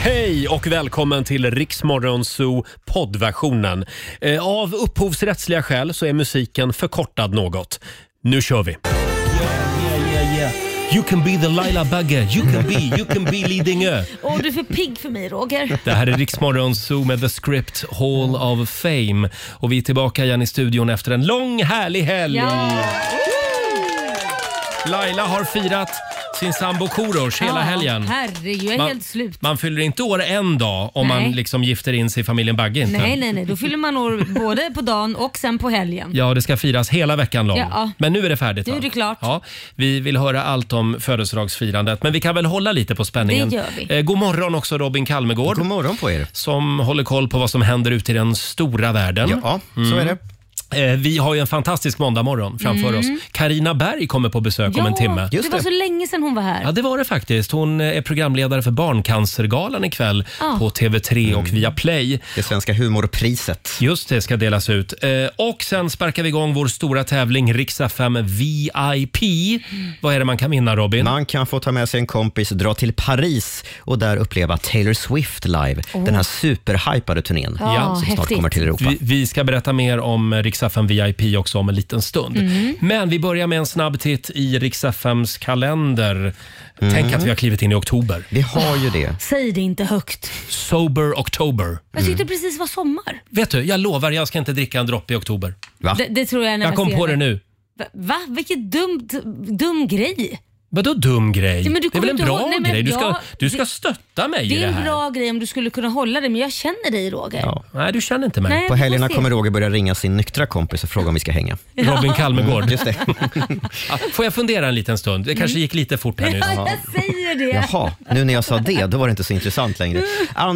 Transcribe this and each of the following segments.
Hej och välkommen till Riksmorgonzoo poddversionen. Eh, Av upphovsrättsliga skäl så är musiken förkortad något. Nu kör vi! You can be the Laila Bagge, you can be, you can be Lidingö. Åh, du är för pigg för mig Roger. Det här är Riksmorgon Zoo med The Script Hall of Fame. Och vi är tillbaka igen i studion efter en lång härlig helg. Ja. Laila har firat sin sambo Korosh hela Ja, helgen. Herregud, jag är Man- helt slut. Man fyller inte år en dag om Nej. man liksom gifter in sig i familjen Bagge. Inte. Nej, nej, nej. Då fyller man år både på dagen och sen på helgen. Ja, det ska firas hela veckan lång. Ja. Men nu är det färdigt. Nu är va? det klart. Ja, vi vill höra allt om födelsedagsfirandet, men vi kan väl hålla lite på spänningen. Det gör vi. Eh, god morgon också Robin Kalmegård God morgon på er. som håller koll på vad som händer ute i den stora världen. Ja, så är det. Eh, vi har ju en fantastisk måndagmorgon framför oss. Karina Berg kommer på besök om en timme. Mm. det Just var det. så länge sedan hon var här. Ja, det var det faktiskt. Hon eh, är programledare för Barncancergalan ikväll Ah. på TV3 och via Play. Det svenska humorpriset. Just det, ska delas ut. Eh, och sen sparkar vi igång vår stora tävling Riksa 5 VIP. Mm. Vad är det man kan vinna Robin? Man kan få ta med sig en kompis, dra till Paris och där uppleva Taylor Swift live. Den här superhypade turnén Ja, som snart häftigt. kommer till Europa. Vi, vi ska berätta mer om eh, Riksa 5 VIP också om en liten stund. Mm. Men vi börjar med en snabb titt i Riksa 5s kalender. Tänk att vi har klivit in i oktober. Vi har ju det. Säg det inte högt. Sober October. Jag tyckte det precis var sommar. Mm. Vet du, jag lovar, jag ska inte dricka en droppe i oktober. Va? Det, det tror jag när Jag kom ser på det nu. Va? Va? Vilket dumt, dum grej. Vadå dum grej? Ja, men du det är väl en kommer inte bra ihåg- nej, men grej? Du ska, jag- du ska det- stötta mig i Det det är här. en bra grej om du skulle kunna hålla det, men jag känner dig Roger. Ja. Nej, du känner inte mig. Nej, På vi får helgerna se. kommer Roger börja ringa sin nyktra kompis och fråga om vi ska hänga. Mm, Robin Kalmegård. Just det. Ja, Får jag fundera en liten stund? Det kanske gick lite fort här nyss. Mm. Ja, jag säger det. Jaha, nu när jag sa det, då var det inte så intressant längre.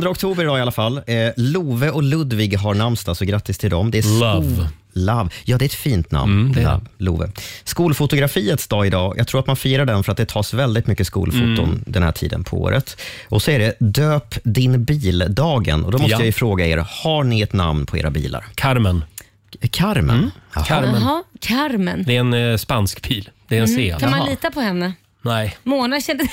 2 oktober idag i alla fall. Eh, Love och Ludvig har namnsdag, så grattis till dem. Det är sko- Love. Mm, Love. Ja, det är ett fint namn. Love. Love. Skolfotografiets dag idag. Jag tror att man firar den för att det tas väldigt mycket skolfoton Mm. den här tiden på året. Och så är det döp din bil-dagen. Och då måste Ja. jag ju fråga er, har ni ett namn på era bilar? Carmen. Carmen? Jaha. Mm. Carmen. Jaha, Carmen. Mm. Det är en eh, spansk pil. Det är en C. Kan man Jaha. lita på henne? Nej. Mona kändes...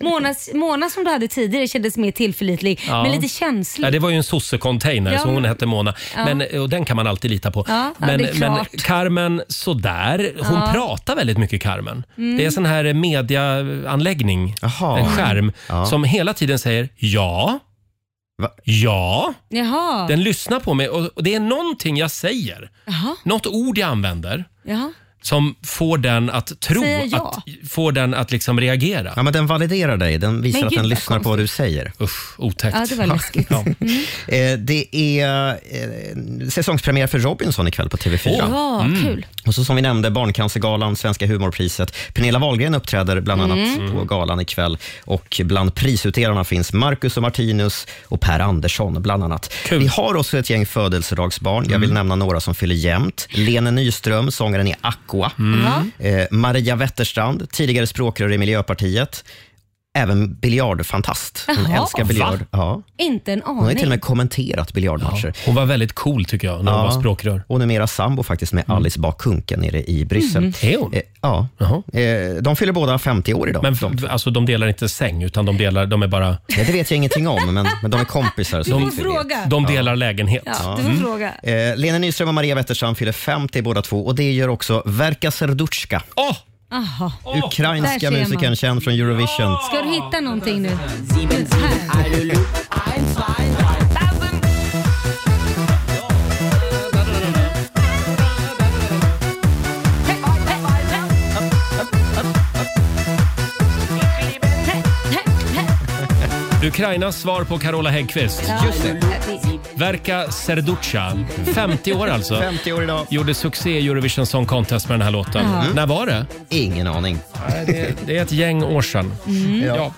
Mona, Mona som du hade tidigare kändes mer tillförlitlig, Ja. men lite känslig. Ja, det var ju en sossecontainer, Ja, så hon men- hette Mona. Ja. Men, eh, och den kan man alltid lita på. Ja, ja, men, det är men klart. Carmen, sådär. Hon pratar väldigt mycket, Carmen. Mm. Det är en sån här eh, mediaanläggning, Jaha. en skärm, Ja. som hela tiden säger ja, Va? ja. Jaha. Den lyssnar på mig och och det är någonting jag säger. Jaha. Något ord jag använder Jaha. som får den att tro Säga ja. att, får den att liksom reagera. Ja, men den validerar dig. Den visar Men att gud, den vad lyssnar på vad du säger. Usch, otäckt. Ja, det var läskigt. Ja. Eh, det är eh, säsongspremiär för Robinson ikväll på TV4. Åh. Ja, kul. Och så som vi nämnde, Barncancergalan, Svenska humorpriset. Pernilla Wahlgren uppträder bland annat på galan ikväll. Och bland prisutdelarna finns Marcus och Martinus och Per Andersson bland annat. Kul. Vi har också ett gäng födelsedagsbarn. Jag vill nämna några som fyller jämnt. Lene Nyström, sångaren i Aqua. Ja. Eh, Maria Wetterstrand, tidigare språkrör i Miljöpartiet. Även biljardfantast. Hon Jaha. älskar biljard. Va? Ja. Inte en Hon har ju till och aning. med kommenterat biljardmatcher. Hon var väldigt cool tycker jag när hon Ja. var språkrör. Mm. Och numera sambo faktiskt med Alice Bah Kuhnke nere i Bryssel. Mm-hmm. Är hon? Eh, ja. Jaha. Eh, de fyller båda 50 år idag. Men de, de, alltså, de delar inte säng utan de, delar, de, är bara, Ja, det vet jag ingenting om, men, men de är kompisar. Så Du får vi vet. fråga. de delar lägenhet. Ja, du får Mm. fråga. Eh, Lena Nyström och Maria Wetterstrand fyller 50 båda två och det gör också Verka Serdutska, Åh! Aha. där ser ukrainska man. musikern känd från Eurovision. Ska du hitta någonting nu? Ukrainas svar på Carola Häggkvist. Just det, Verka Serducha. 50 år alltså. 50 år idag. Gjorde succé i Eurovision Song Contest med den här låten. När var det? Ingen aning. det? Det är ett gäng år sedan. Mm. Ja.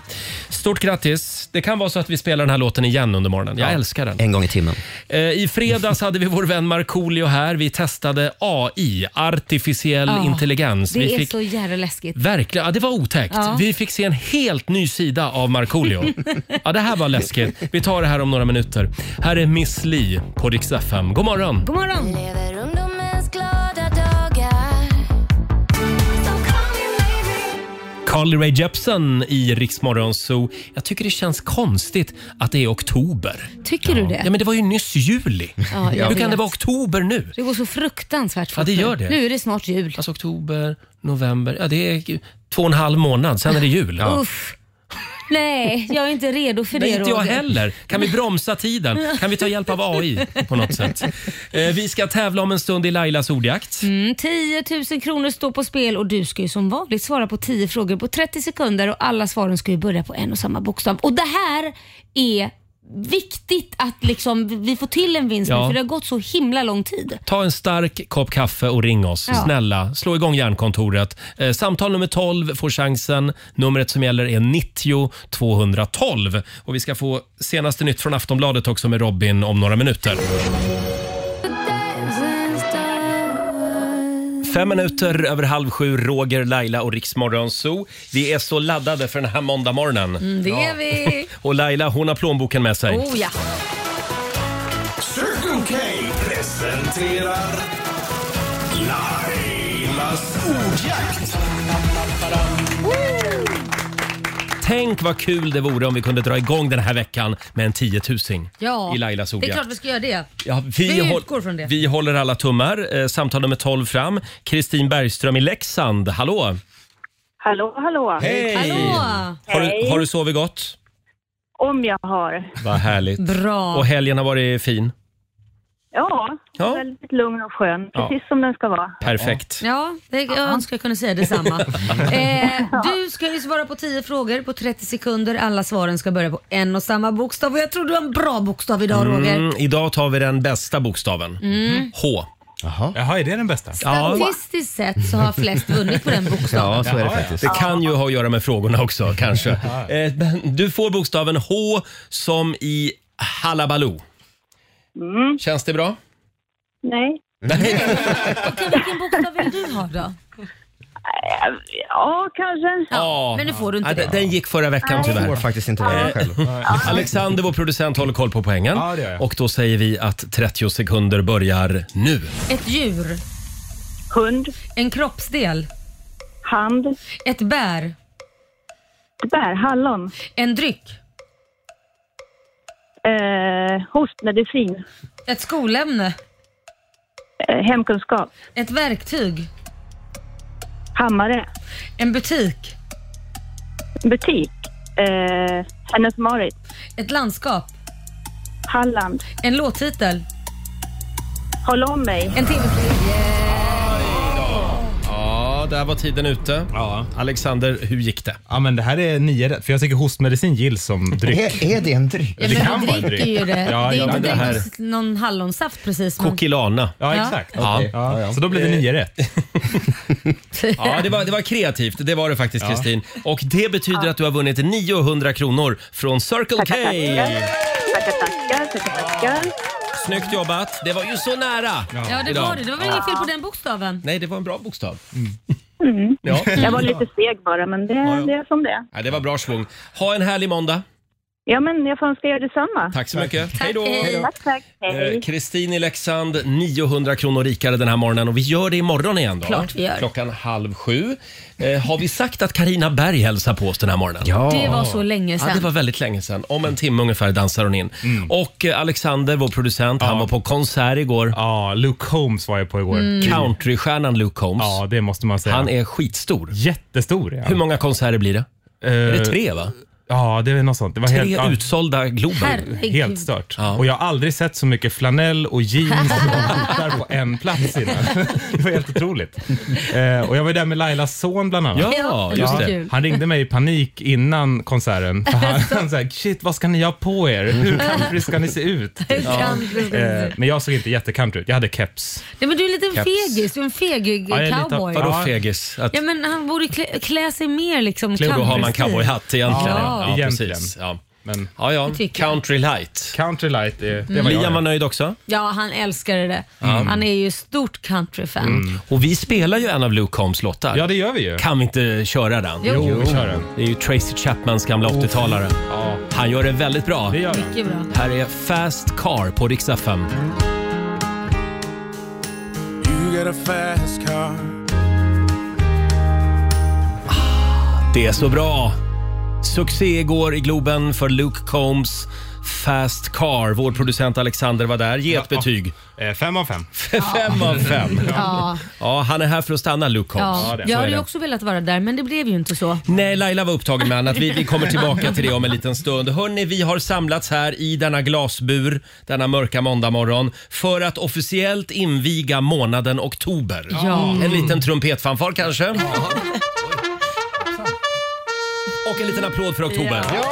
Stort grattis. Det kan vara så att vi spelar den här låten igen under morgonen. Jag älskar den. En gång i timmen. Eh, I fredags hade vi vår vän Markoolio här. Vi testade AI, artificiell Ja, intelligens. Det vi är fick så jävla läskigt. Verkligen, ja, det var otäckt. Ja. Vi fick se en helt ny sida av Markoolio. ja, det här var läskigt. Vi tar det här om några minuter. Här är Miss Li på Rix FM. God morgon! God morgon! Lever ungdomens glada dagar. So call me maybe. Carly Rae Jepsen i Rix Morgon Zoo. Jag tycker det känns konstigt att det är oktober. Tycker du det? Ja, men det var ju nyss juli. Ja, jag Hur kan det vet. vara oktober nu? Det går så fruktansvärt fort Ja, det nu. gör det. Nu är det snart jul. Alltså oktober, november, ja det är två och en halv månad, sen är det jul. Uff. Nej, jag är inte redo för Nej, det inte jag Roger. heller. Kan vi bromsa tiden? Kan vi ta hjälp av AI på något sätt? Eh, vi ska tävla om en stund i Lailas ordjakt. Mm, 10 000 kronor står på spel och du ska ju som vanligt svara på 10 frågor på 30 sekunder och alla svaren ska ju börja på en och samma bokstav. Och det här är viktigt att liksom vi får till en vinst Ja. nu för det har gått så himla lång tid. Ta en stark kopp kaffe och ring oss. Ja. Snälla, slå igång hjärnkontoret. Eh, samtal nummer 12 får chansen. Numret som gäller är 90 212. Och vi ska få senaste nytt från Aftonbladet också med Robin om några minuter. Fem minuter över halv sju, Roger, Laila och Riksmorgon Zoo. Vi är så laddade för den här måndagmorgonen. Mm, Det är vi. Och Laila, hon har plånboken med sig. Oh ja. Circle K presenterar Lailas ordjakt. Tänk vad kul det vore om vi kunde dra igång den här veckan med en tiotusing ja. i Lailas Det är ordjakt. klart vi ska göra det. Ja, vi, Vi håll- utgår från det. vi håller alla tummar. Eh, samtal nummer 12 fram. Kristin Bergström i Leksand. Hallå! Hallå, hallå. Hej! Hallå! Har, du, Hej. har du sovit gott? Om jag har. Vad härligt. Och Bra. helgen har varit fin. Ja, Ja. väldigt lugn och skön. Precis som den ska vara. Perfekt. Ja, det, jag önskar jag kunde säga detsamma. eh, du ska ju svara på 10 frågor på 30 sekunder. Alla svaren ska börja på en och samma bokstav. Och jag tror du har en bra bokstav idag Roger. Mm. Mm, idag tar vi den bästa bokstaven. H. Jaha. Jaha, är det den bästa? Ja. Statistiskt sett så har flest vunnit på den bokstaven. Ja, så är det Jaha, ja. faktiskt. Det kan ju ha att göra med frågorna också kanske. Eh, men Du får bokstaven H som i Hallabaloo. Mm. Känns det bra? Nej. Okej, vilken bokstav vill du ha då? Eh, Ja, kanske. Ja. Men nu får du Ja, inte den- det. Ah. Den gick förra veckan Jag tyvärr. Eh, får faktiskt inte välja själv. Alexander, vår producent, håller koll på poängen. Ja, det gör jag. Och då säger vi att 30 sekunder börjar nu. Ett djur, Hund, en kroppsdel, hand, ett bär, bär, hallon, en dryck, eh, hostmedicin, ett skolämne, eh, hemkunskap, ett verktyg, hammare, en butik, butik, eh, Hennes Marit, ett landskap, Halland, en låttitel, Håll om mig, en tv-serie. Ja, där var tiden ute. Ja. Alexander, hur gick det? Ja, men det här är nio rätt. För jag tycker hostmedicin gills som dryck. Är, är det en dryck? Ja, Det men kan en vara en dryck är dryck. ju det. Ja, ja, det är inte men det direkt här- någon- någon hallonsaft precis. men- Kokilana. Ja, Ja. exakt. Ja. Eh, Okej. Ja. Så då blir det nio rätt. Ja, det var, det var kreativt. Det var det faktiskt, Kristin. Och det betyder att du har vunnit 900 kronor från Circle K. tackar, tackar, tackar, tackar. Snyggt jobbat. Det var ju så nära. Ja, det Idag. var det. Det var väl inget fel på den bokstaven? Nej, det var en bra bokstav. Mm. Ja. Mm. Jag var lite seg bara, men det, det är som det är. ja, det var bra svung. Ha en härlig måndag. Ja, men jag får önska er detsamma. Tack så mycket. Hej då. hej. Tack, tack. Hej. Eh, Kristin i Leksand, 900 kronor rikare den här morgonen och vi gör det imorgon igen då. Klart vi gör. Klockan halv sju. Eh, har vi sagt att Karina Berg hälsar på oss den här morgonen? Det var så länge Ja, det var sedan. väldigt länge sedan. Om en timme ungefär dansar hon in. Mm. Och eh, Alexander, vår producent, han var på konsert igår. Mm. Ja, Luke Holmes var jag på igår. Countrystjärnan Luke Combs. Ja, det måste man säga. Han är skitstor. jättestor. Ja. Hur många konserter blir det? Är det tre va? Ja, det är något sånt. Det var Tre helt, ja, utsålda Globen. Herregud. helt stört. Och jag har aldrig sett så mycket flanell och jeans och skjortar på en plats innan. Det var helt otroligt. Eh, och jag var ju där med Lailas son bland annat. Ja, just Ja, det. Kul. han ringde mig i panik innan konserten. För han, han sa shit vad ska ni ha på er? Hur country ska ni se ut? Hur kan du Eh, det? men jag såg inte jättecountry ut. Jag hade keps. Nej, men du är en liten Keps. fegis. Du är en fegig Ja, jag är lite- cowboy. Vadå Ja. fegis? Att Ja, men han borde klä, klä sig mer liksom Då har man country-stil. cowboyhatt egentligen. Ja. Egentligen. precis. Ja. Men Ja, ja. tycker jag. Country light. country light, eh, det var Liam Mm. var jag. nöjd också. Ja, han älskar det. Han är ju stort countryfan. Och vi spelar ju en av Luke Combs låtar. Mm. Ja det gör vi ju. Kan vi inte köra den? Jo. Jo, vi kör den. Det är ju Tracy Chapmans gamla 80-talare. Ja, Han gör det väldigt bra. det gör den. Mycket bra. Här är Fast Car på Rix FM. You got a fast car. Det är så bra! Succé igår i Globen för Luke Combs Fast Car. Vår producent Alexander var där. Ge ett betyg. Eh, fem av fem. Fem av fem. Ja, Ja, han är här för att stanna, Luke Combs. ja. Så Jag är hade ju det. också velat vara där men det blev ju inte så. Nej, Laila var upptagen med annat. Vi, vi kommer tillbaka till det om en liten stund. Hörni, vi har samlats här i denna glasbur denna mörka måndagmorgon för att officiellt inviga månaden oktober. Mm. Ja. En liten trumpetfanfar kanske? Och en liten applåd för oktober. Ja.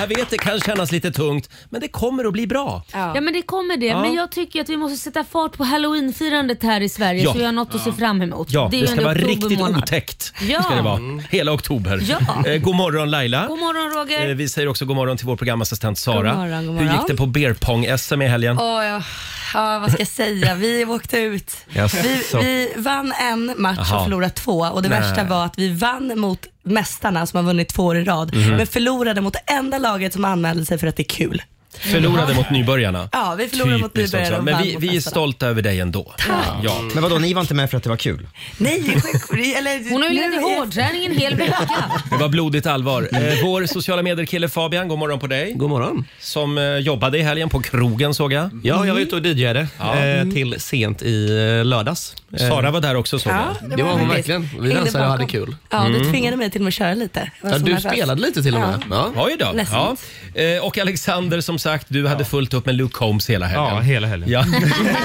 Jag vet det kan kännas lite tungt, men det kommer att bli bra. Ja. men det kommer det. Men jag tycker att vi måste sätta fart på halloweenfirandet här i Sverige Ja. så vi har något att se fram emot. Ja, det är det, ju ska ändå vara oktober riktigt månad. otäckt. Ja. Ska det vara. Hela oktober. Ja. Eh, god morgon Laila. God morgon Roger. Eh, Vi säger också god morgon till vår programassistent Sara. God morgon, god Hur gick morgon. det på beer pong sm i helgen? Åh, ja, ja, vad ska jag säga? Vi åkte ut. Jaså. Vi, vi vann en match Jaha. och förlorade två och det Nej. värsta var att vi vann mot mästarna som har vunnit två år i rad, Mhm. men förlorade mot det enda laget som anmälde sig för att det är kul. Förlorade mot nybörjarna. Ja, vi förlorade mot Typiskt nybörjare också. och Men vann vi, mot vi är mästarna. stolta över dig ändå. Ja. Men vadå, ni var inte med för att det var kul? Nej, sjuk, eller, Hon har ju nu legat i är- hårdträning en hel vecka. Det var blodigt allvar. Eh, Vår sociala medier-kille Fabian, god morgon på dig. God morgon. Som eh, jobbade i helgen på krogen såg jag. Ja, jag var ute och DJade eh, till sent i eh, lördags. Eh, Sara var där också såg jag. Ja, Det var hon roligt. verkligen. Vi Hängde dansade och hade bakom. kul. Mm. Ja, du tvingade mig till och med att köra lite. Jag var Ja, så du nervös. spelade lite till och med. Ja. Oj då. Ja. Ledsamt. Eh, Och Alexander, som sagt, du hade fullt upp med Luke Combs hela helgen. Ja, hela helgen. Ja.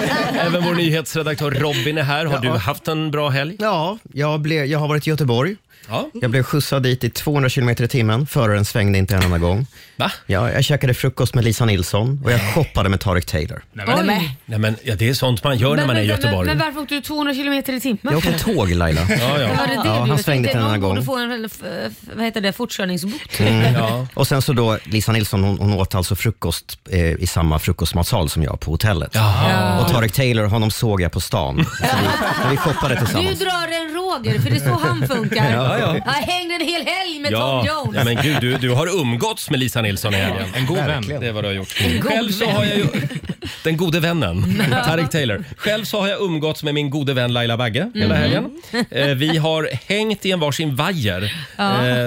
Även vår nyhetsredaktör Robin är här. Har du haft en bra helg? Ja, jag, blev, jag har varit i Göteborg. Ja. Jag blev skjutsad dit i 200 km i timmen. Föraren svängde inte en enda gång. Va? Ja, jag käkade frukost med Lisa Nilsson och jag shoppade med Tarek Taylor. Oj. Nej, men, ja, det är sånt man gör när man är i Göteborg. Men, men varför åkte du 200 kilometer i timmen? Jag åkte tåg Laila. Ja, ja. Var det det Ja, du han tänkte? svängde till en Någon annan gång. Mm. borde få en f- f- vad heter det, fortkörningsbot. Ja. Och sen så då, Lisa Nilsson hon, hon åt alltså frukost eh, i samma frukostmatsal som jag på hotellet. Och Tarek Taylor, honom såg jag på stan. Så vi, så vi shoppade Du tillsammans. drar en Roger, för det är så han funkar. Ja, ja. Jag hängde en hel helg med Ja. Tom Jones. ja, men gud, du, du har umgåtts med Lisa Nilsson i helgen. En god vän. Det är vad du har gjort. god Själv så vän. har jag ju... Den gode vännen, Tareq Taylor. Själv så har jag umgåtts med min gode vän Laila Bagge Mhm. hela helgen. Eh, Vi har hängt i en varsin vajer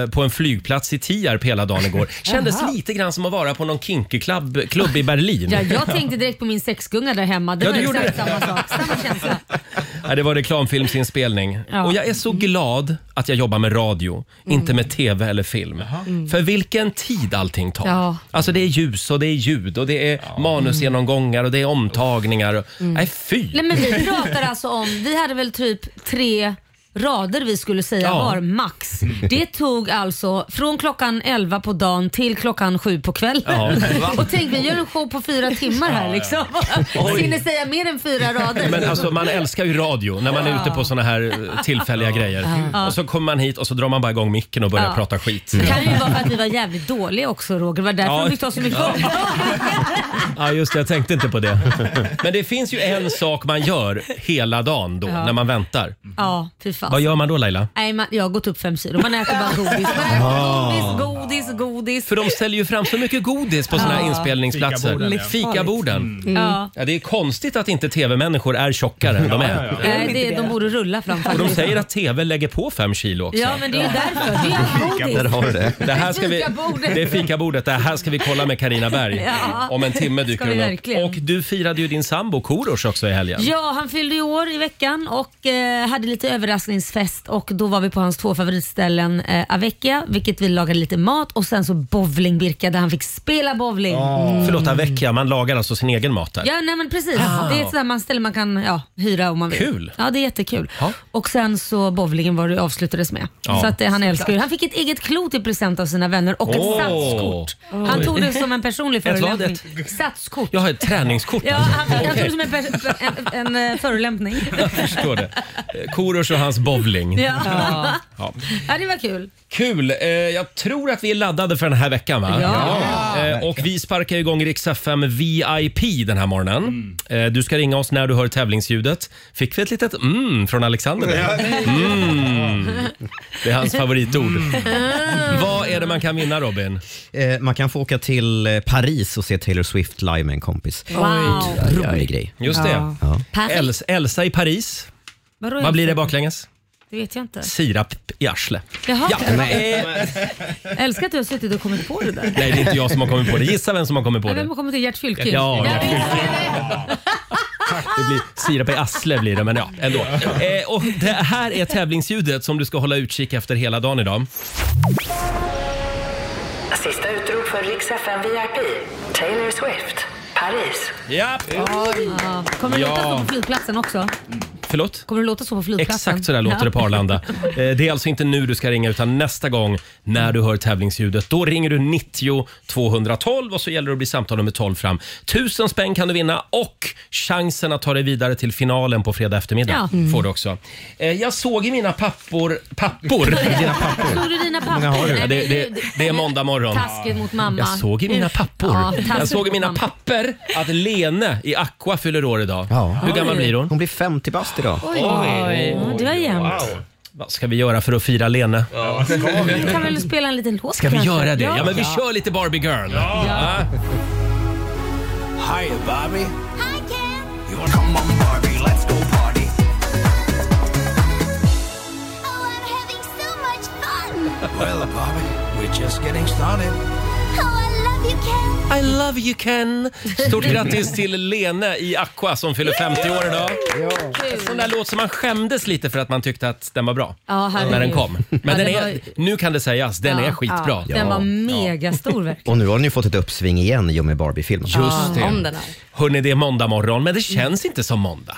eh, på en flygplats i Tierp hela dagen igår. Kändes lite grann som att vara på någon kinky-klubb klubb i Berlin. Ja, jag tänkte direkt på min sexgunga där hemma. Det Ja, var du gjorde exakt samma sak. Samma känsla. Ja, det var reklamfilmsinspelning. Ja. Mm. Och jag är så glad att jag jobbar med radio, inte med tv eller film. För vilken tid allting tar. Mm. Ja. Alltså det är ljus och det är ljud och det är manusgenomgångar och det är omtagningar. Nej, fy! Mm. Nej, men vi pratar alltså om, vi hade väl typ tre rader vi skulle säga Ja. var max. Det tog alltså från klockan 11 på dagen till klockan 7 på kvällen. Och tänk vi gör en show på fyra timmar här liksom. Hinner säga mer än fyra rader. Men alltså, man älskar ju radio när man är ute på såna här eh, tillfälliga grejer. Och så kommer man hit och så drar man bara igång micken och börjar Ja. prata skit. Det kan ju vara för att vi var jävligt dåliga också Roger. Det var därför Ja. de fick ta så mycket Ja, just det. Jag tänkte inte på det. Men det finns ju en sak man gör hela dagen då, när man väntar. Ja, fy fan. Vad gör man då Laila? Nej, man, jag har gått upp fem kilo. Man äter bara godis. Man äter godis, godis, godis. För de säljer ju fram så mycket godis på såna här Fikaborden, inspelningsplatser. ja. Fikaborden. Mm. Ja. Ja, det är konstigt att inte tv-människor är tjockare än de är. Mm. Nej, det, de borde rulla fram Och faktiskt. de säger att tv lägger på fem kilo också. Ja, men det är ju därför. Det är Där godis. har du det. Det, här ska vi, Fikabordet. det är fikabordet. Det här ska vi kolla med Karina Berg. Ja. Om en timme dyker Ska vi hon upp. verkligen? Och du firade ju din sambo Korosh också i helgen. Ja, han fyllde i år i veckan och eh, hade lite överraskningsfest och då var vi på hans två favoritställen eh, Avecchia, vilket vi lagade lite mat och sen så bowlingbirka där han fick spela bowling. Mm. Förlåt, Avecchia. Man lagar alltså sin egen mat där. Ja, nej men precis. Det är ett sådant man ställe man kan ja, hyra om man vill. Kul. Ja, det är jättekul. Ja. Och sen så bowlingen var det avslutades med. Ja. Så att eh, han älskar ju. Han fick ett eget klot i present av sina vänner och Åh. ett satskort. Han tog det som en personlig vad förolämpning. Satskort. Jag har ett träningskort. Ja, alltså. han, han tog Okej, det som en, pers- en, en eh, förolämpning. jag förstår det. Korosh och hans bowling. Ja. Ja. det var kul. Kul! Eh, jag tror att vi är laddade för den här veckan. Va? Ja. Eh, och vi sparkar igång Rix FM VIP den här morgonen. Mm. Eh, du ska ringa oss när du hör tävlingsljudet. Fick vi ett litet mm från Alexander? där? Mm. Det är hans favoritord. Mm. Vad är det man kan vinna Robin? Eh, man kan få åka till eh, Paris och se Taylor Swift live med en kompis. Wow. Rolig grej. Just det. Perfekt. Els, Elsa i Paris. Vadå, Vad blir det Elsa? baklänges? Det vet jag inte. Sirap i arsle. Jaha. Ja, nej. Jag älskar att du har suttit och kommit på det där. nej, det är inte jag som har kommit på det. Gissa vem som har kommit på Men det. Vem har kommit till Gert Fylking? Ja, Gert visst är det. Det blir sirap i arsle blir det, men ja, ändå. Eh, och det här är tävlingsljudet som du ska hålla utkik efter hela dagen idag. Sista utrop för Rix FM VIP. Taylor Swift, Paris. Ja. Ja. Kommer det låta Ja. så på flygplatsen också? Förlåt? Kommer det låta så på flygplatsen? Exakt så där låter Ja. det på Arlanda. Eh, Det är alltså inte nu du ska ringa utan nästa gång när du hör tävlingsljudet. Då ringer du 90 212 och så gäller det att bli samtal nummer 12 fram. Tusen spänn kan du vinna och chansen att ta dig vidare till finalen på fredag eftermiddag Ja. får du också. Eh, Jag såg i mina pappor... Pappor? I Dina pappor. Tror du dina pappor? Ja, det, det, det är måndag morgon. Taskigt mot mamma. Jag såg i mina pappor. Ja, taskigt Jag såg i mot mina mamma. papper att Lene i Aqua fyller år idag. Ja. Hur gammal blir hon? Hon blir 50 bast idag. Oj, ja, du har jämnt. Vad ska vi göra för att fira Lene? Vi kan väl spela en liten låt Ska vi kanske? göra det? Ja, Ja. men vi kör lite Barbie Girl. Ja. Hi, Bobby. Hi, Ken. You wanna come on, Barbie? Let's go party. Oh, I'm having so much fun! Well, Bobby, we're just getting started. Oh, I love you, Ken! I love you Ken. Stort grattis till Lene i Aqua som fyller 50 år idag. En sån där låt som man skämdes lite för att man tyckte att den var bra. Ja, herregud. När den kom. Men Ja, den den är, var- nu kan det sägas, den är skitbra. Ja, Den var megastor verkligen. Och nu har ni fått ett uppsving igen i och med Barbie-filmen. Just Ja, om det. den här. Hörni, det är måndag morgon, men det känns inte som måndag.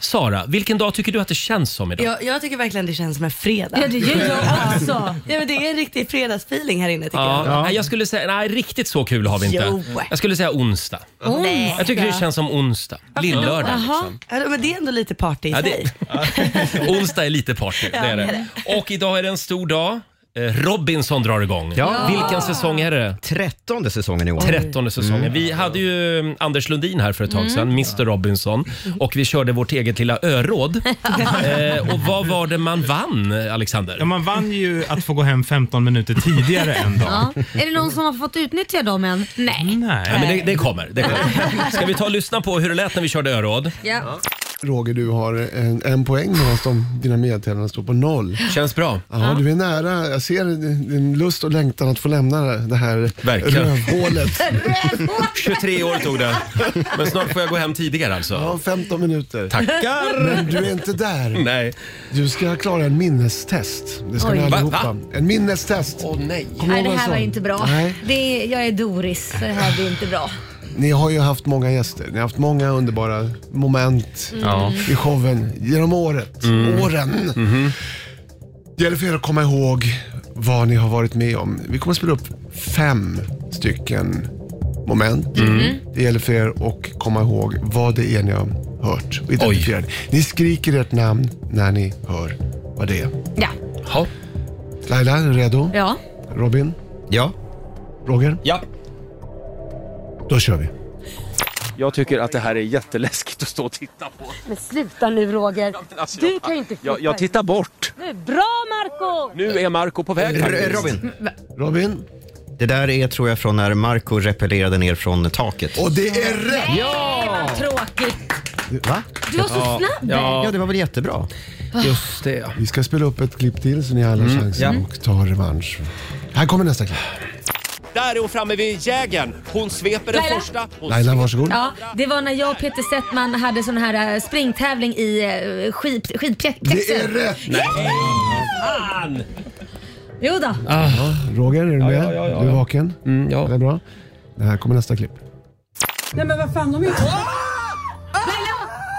Sara, vilken dag tycker du att det känns som idag? Jag, jag tycker verkligen det känns som en fredag. Ja, det gör jag också. Ja, men det är en riktig fredagsfeeling här inne tycker Ja, jag. Nej, jag skulle säga, nej riktigt så kul har vi inte. Jo. Jag skulle säga onsdag. Onsdag. Jag tycker det känns som onsdag. Lillördag liksom. Ja, men det är ändå lite party i Ja, sig. det, onsdag är lite party, det är det. Och idag är det en stor dag. Eh, Robinson drar igång. Ja. Vilken säsong är det? Trettonde säsongen i år. Mm. Trettonde säsongen. Vi hade ju eh, Anders Lundin här för ett tag sedan, Mr Robinson. Och vi körde vårt eget lilla öråd. eh, och vad var det man vann, Alexander? Ja, man vann ju att få gå hem 15 minuter tidigare en dag. Ja. Är det någon som har fått utnyttja dem än? Nej. Nej, Nej. men det, det, kommer, det kommer. Ska vi ta och lyssna på hur det lät när vi körde öråd? Ja. Roger, du har en, en poäng medan de, dina medtävlande står på noll. Känns bra. Ja, Du är nära. Jag ser din din lust och längtan att få lämna det här Verkligen. rövhålet. 23 år tog det. Men snart får jag gå hem tidigare alltså. Ja, 15 minuter. Tackar! Men du är inte där. Nej. Du ska klara en minnestest. Det ska Oj. ni Va- allihopa. va? En minnestest. Åh nej. Kommer Nej, ihåg det en här var sån? inte bra. Nej. Det är, jag är Doris, för det här blir inte bra. Ni har ju haft många gäster. Ni har haft många underbara moment i showen genom året. Åren. Det gäller för er att komma ihåg vad ni har varit med om. Vi kommer att spela upp fem stycken moment. Det gäller för er att komma ihåg vad det är ni har hört och identifierat. Ni skriker ert namn när ni hör vad det är. Ja. Ja. Laila, är du redo? ja. Robin? Ja. Roger? Ja. Då kör vi. Jag tycker att det här är jätteläskigt att stå och titta på. Alltså, Men sluta nu Roger. Du kan ju inte flytta. tittar bort. Nu, Bra Marco! Nu är Marco på väg R- faktiskt. Robin, Robin? det där är tror jag från när Marco repellerade ner från taket. Och det är rätt! Ja! Tråkigt. Va? Du var så snabb. Ja, Ja, det var väl jättebra? just det. Mm. Vi ska spela upp ett klipp till så ni har alla chansen och tar revansch. Här kommer nästa klipp. Där är hon framme vid jägern. Hon sveper den Laila. första. Hon Laila, varsågod. Ja, det var när jag och Peter Settman hade sån här eh, springtävling i eh, skid, Det är skidpjäxor. rätt! Fan! Jo då. Roger, är du med? Du är vaken? Ah. ja. Det är bra. Det här kommer nästa klipp. Nej men vad fan, de är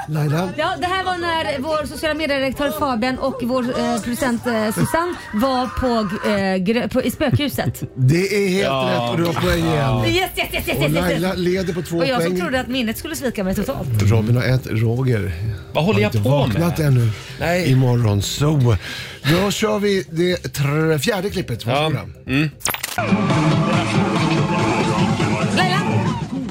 Laila! Ja, det här var när vår sociala medieredaktör Fabian och vår eh, producent eh, Susanne var på, eh, grö- på, i spökhuset. det är helt rätt och du har poäng igen. Yes, yes, yes, yes, Och yes, yes, Laila yes. leder på två Och jag som poäng. trodde att minnet skulle svika mig totalt. Robin har ett, Roger Vad håller har jag inte på vaknat med? ännu. Nej. Imorgon så. Då kör vi det tr- fjärde klippet. Varsågoda. Mm. Laila!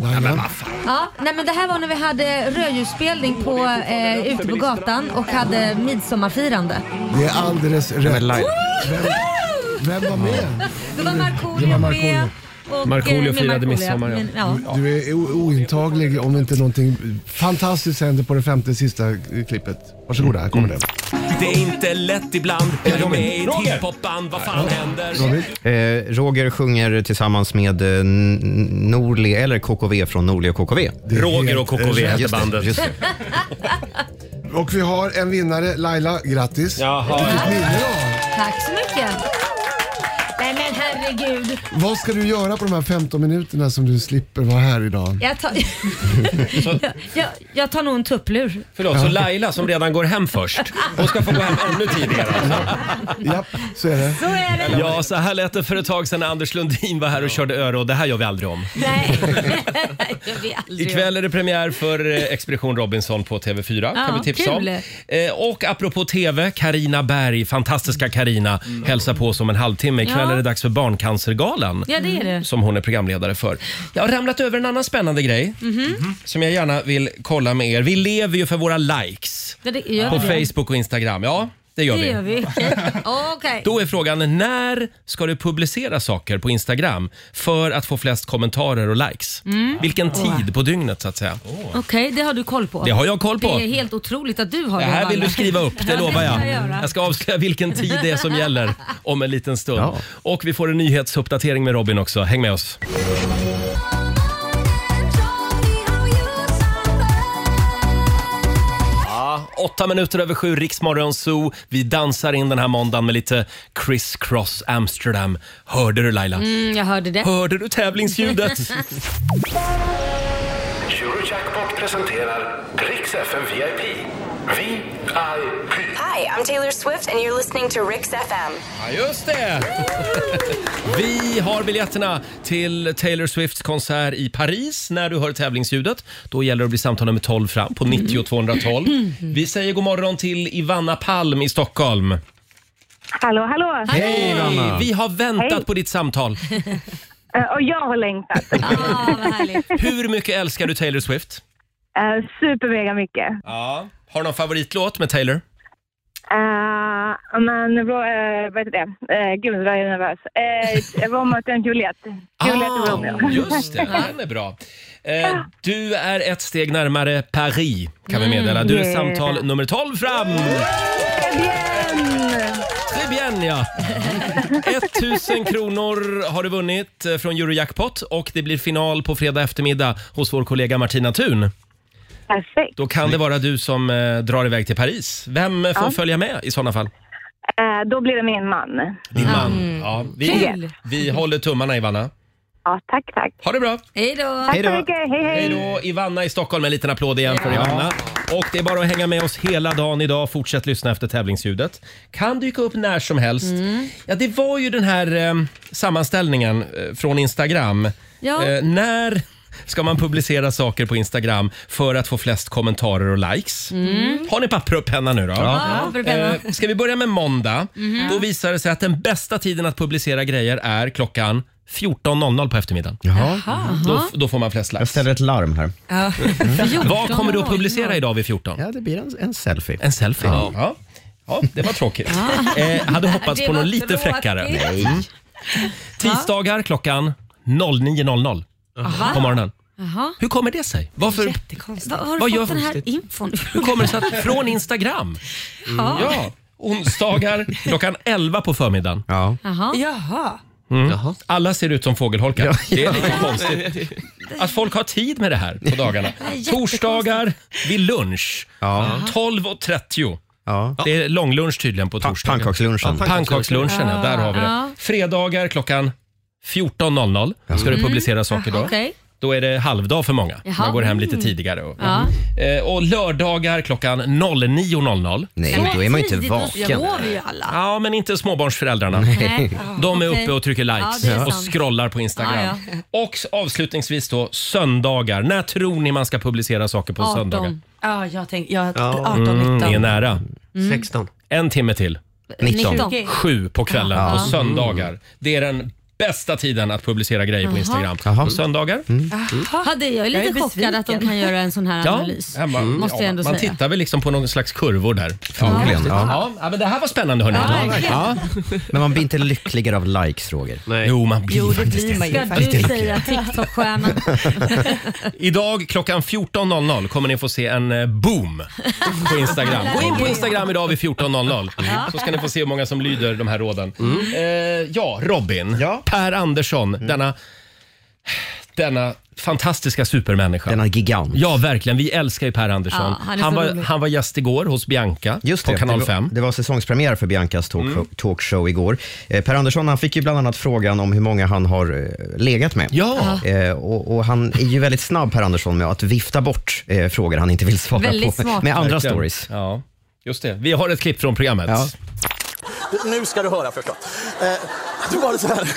Laila. Ja, nej men det här var när vi hade rödljusspelning på, eh, ute på gatan och hade midsommarfirande. Det är alldeles rätt. Vem, vem var med? Det var Markoolio var med, Markoolio. och, eh, Markoolio med firade Markoolio, midsommar. Ja. men, ja. Du är o- ointaglig om inte någonting fantastiskt händer på det femte sista eh, klippet. Varsågoda, Mm. här kommer det. Det är inte lätt ibland. Är du med i ett hiphopband? Vad fan Eh, händer? Roger sjunger tillsammans med eh, N- Norli, eller KKV från Norli och KKV. Mm. Roger och KKV Eh, Just hette det, bandet. just det. Och vi har en vinnare, Laila, grattis. Jaha. Tack så mycket. Nej men herregud. Vad ska du göra på de här 15 minuterna som du slipper vara här idag? Jag tar, jag, jag, jag tar nog en tupplur. Förlåt, så Laila som redan går hem först, hon ska få gå hem ännu tidigare. alltså. Japp, så är det. Så är det. Ja, så här lät det för ett tag sedan när Anders Lundin var här och körde öra och det här gör vi aldrig om. Nej, jag vet aldrig. Ikväll är det premiär för eh, Expedition Robinson på TV4. Ja, kan vi tipsa om. kul. Eh, Och apropå TV, Karina Berg, fantastiska Karina hälsar på oss om en halvtimme. Ikväll Ja. är det dags för Barncancergalan. Ja, det är det. Som hon är programledare för. Jag har ramlat över en annan spännande grej Mhm. som jag gärna vill kolla med er. Vi lever ju för våra likes Ja, det gör på vi. Facebook och Instagram. Ja, det gör Det vi. gör vi. Okej. Då är frågan, när ska du publicera saker på Instagram för att få flest kommentarer och likes? Mm. Vilken Åh. tid på dygnet så att säga. Okej, det har du koll på. Det har jag koll på. Det är helt otroligt att du har Det av här alla. vill du skriva upp, det Ja, lovar ska jag. göra. Jag ska avslöja vilken tid det är som gäller om en liten stund. Och vi får en nyhetsuppdatering med Robin också. Häng med oss. Ja, åtta minuter över sju, Riksmorgon Zoo. Vi dansar in den här måndagen med lite Criss Cross Amsterdam. Hörde du Laila? Mm, jag hörde det. Hörde du tävlingsljudet? Eurojackpot presenterar Rix FM VIP. VIP. Hi, I'm Taylor Swift and you're listening to Rix FM. Ja, just det! Vi har biljetterna till Taylor Swifts konsert i Paris. När du hör tävlingsljudet, då gäller det att bli samtal nummer 12 fram på 90 212. Vi säger god morgon till Ivanna Palm i Stockholm. Hallå, hallå! Vi har väntat Hej. på ditt samtal. Eh, Och jag har längtat. Hur mycket älskar du Taylor Swift? Eh, Supermega mycket. Ja. Har du någon favoritlåt med Taylor? Eh, men uh, vad heter det? Uh, gud, vad jag är nervös. Uh, Romeo och Juliet. Juliet och Romeo. Ah, Just det, den är bra. Eh, du är ett steg närmare Paris, kan vi Mm, meddela. Du är yeah. samtal nummer 12 fram! Très bien, ja. 1000 kronor har du vunnit eh, från Eurojackpot och det blir final på fredag eftermiddag hos vår kollega Martina Thun. Perfekt. Då kan det vara du som eh, drar iväg till Paris. Vem eh, får Ja. följa med i sådana fall? Eh, då blir det min man. Din Mm. man. Ja, vi, Mm. Kul. vi håller tummarna, Ivanna. Ja, tack, tack. Ha det bra! Hej då! Tack så mycket. Hej, hej. Hej då! Ivanna i Stockholm, en liten applåd igen för Ja. Ivanna. Och det är bara att hänga med oss hela dagen idag. Fortsätt lyssna efter tävlingsljudet. Kan dyka upp när som helst. Mm. Ja, det var ju den här eh, sammanställningen eh, från Instagram. Ja. Eh, när ska man publicera saker på Instagram för att få flest kommentarer och likes? Mm. Har ni papper och penna nu då? Ja, papper och penna. Eh, ska vi börja med måndag? Mhm. Då visar det sig att den bästa tiden att publicera grejer är klockan 14.00 på eftermiddagen. Jaha. Då, då får man flest likes. Jag ställer ett larm här. Ja. Vad kommer du att publicera idag vid 14? Ja, det blir en, en selfie. En selfie? Ja. ja. det var tråkigt. Ja. Eh, hade hoppats Det på var något lite tråkigt. fräckare. Mm. Tisdagar klockan 09.00 Aha. på morgonen. Jaha. Hur kommer det sig? Varför? Va, har du Vad gör fått den här konstigt? infon Hur kommer det sig att från Instagram? Mm. Ja. Ja. Onsdagar klockan 11 på förmiddagen. Jaha. Jaha. Mm. Alla ser ut som fågelholkar. Det är lite konstigt. Att folk har tid med det här på dagarna. Det är jättekonstigt. Torsdagar vid lunch. 12.30. Det är långlunch tydligen på torsdagar. pannkakslunchen. Ja, pannkakslunchen, ja. Där har vi Ja. det. Fredagar klockan 14.00 ska det Mm. publiceras saker då. Okej. Då är det halvdag för många. Jaha. Man går hem lite Mm. tidigare. Och, Ja. Eh, och lördagar klockan 09.00. Så tidigt, Då sover ju alla. Ja, men inte småbarnsföräldrarna. Nej. De är Okej. uppe och trycker likes Ja, det är och sant. scrollar på Instagram. Ja, Och avslutningsvis då, söndagar. När tror ni man ska publicera saker på söndagar? Mm, Ja, jag tänkte, jag, 18, 19. det är nära. Mm. 16. En timme till. 19. 19. Sju på kvällen Ja. på söndagar. Det är den bästa tiden att publicera grejer på Jaha. Instagram. Jaha. På söndagar. Mm. Ja, det, Mm. jag är lite Jag är chockad att de kan göra en sån här analys. Ja, man, Måste jag ändå man säga. tittar väl liksom på någon slags kurvor där. Förmodligen, Ja. ja. Ja. men det här var spännande hörni. Ja, verkligen. Men man blir inte lyckligare av likes, Roger. Jo, man blir faktiskt Ska du säga TikTok-stjärna? Idag klockan 14.00 kommer ni få se en eh, boom på Instagram. Gå in på Instagram idag vid 14.00 så ska ni få se hur många som lyder de här råden. Mm. Eh, ja, Robin. Per Andersson, denna, denna fantastiska supermänniska. Denna gigant. Ja, verkligen. Vi älskar ju Per Andersson. Ja, han han, är så var, rolig. han var gäst igår hos Bianca Just det, på Kanal Mm. det, 5. var, det var säsongspremiär för Biancas talk, talkshow igår. Eh, per Andersson han fick ju bland annat frågan om hur många han har eh, legat med. Ja. Eh, och, och han är ju väldigt snabb, Per Andersson, med att vifta bort eh, frågor han inte vill svara på. Med andra Verkligen. stories. Ja, just det. Vi har ett klipp från programmet. Nu ska du höra förstås. Eh, då var det så här.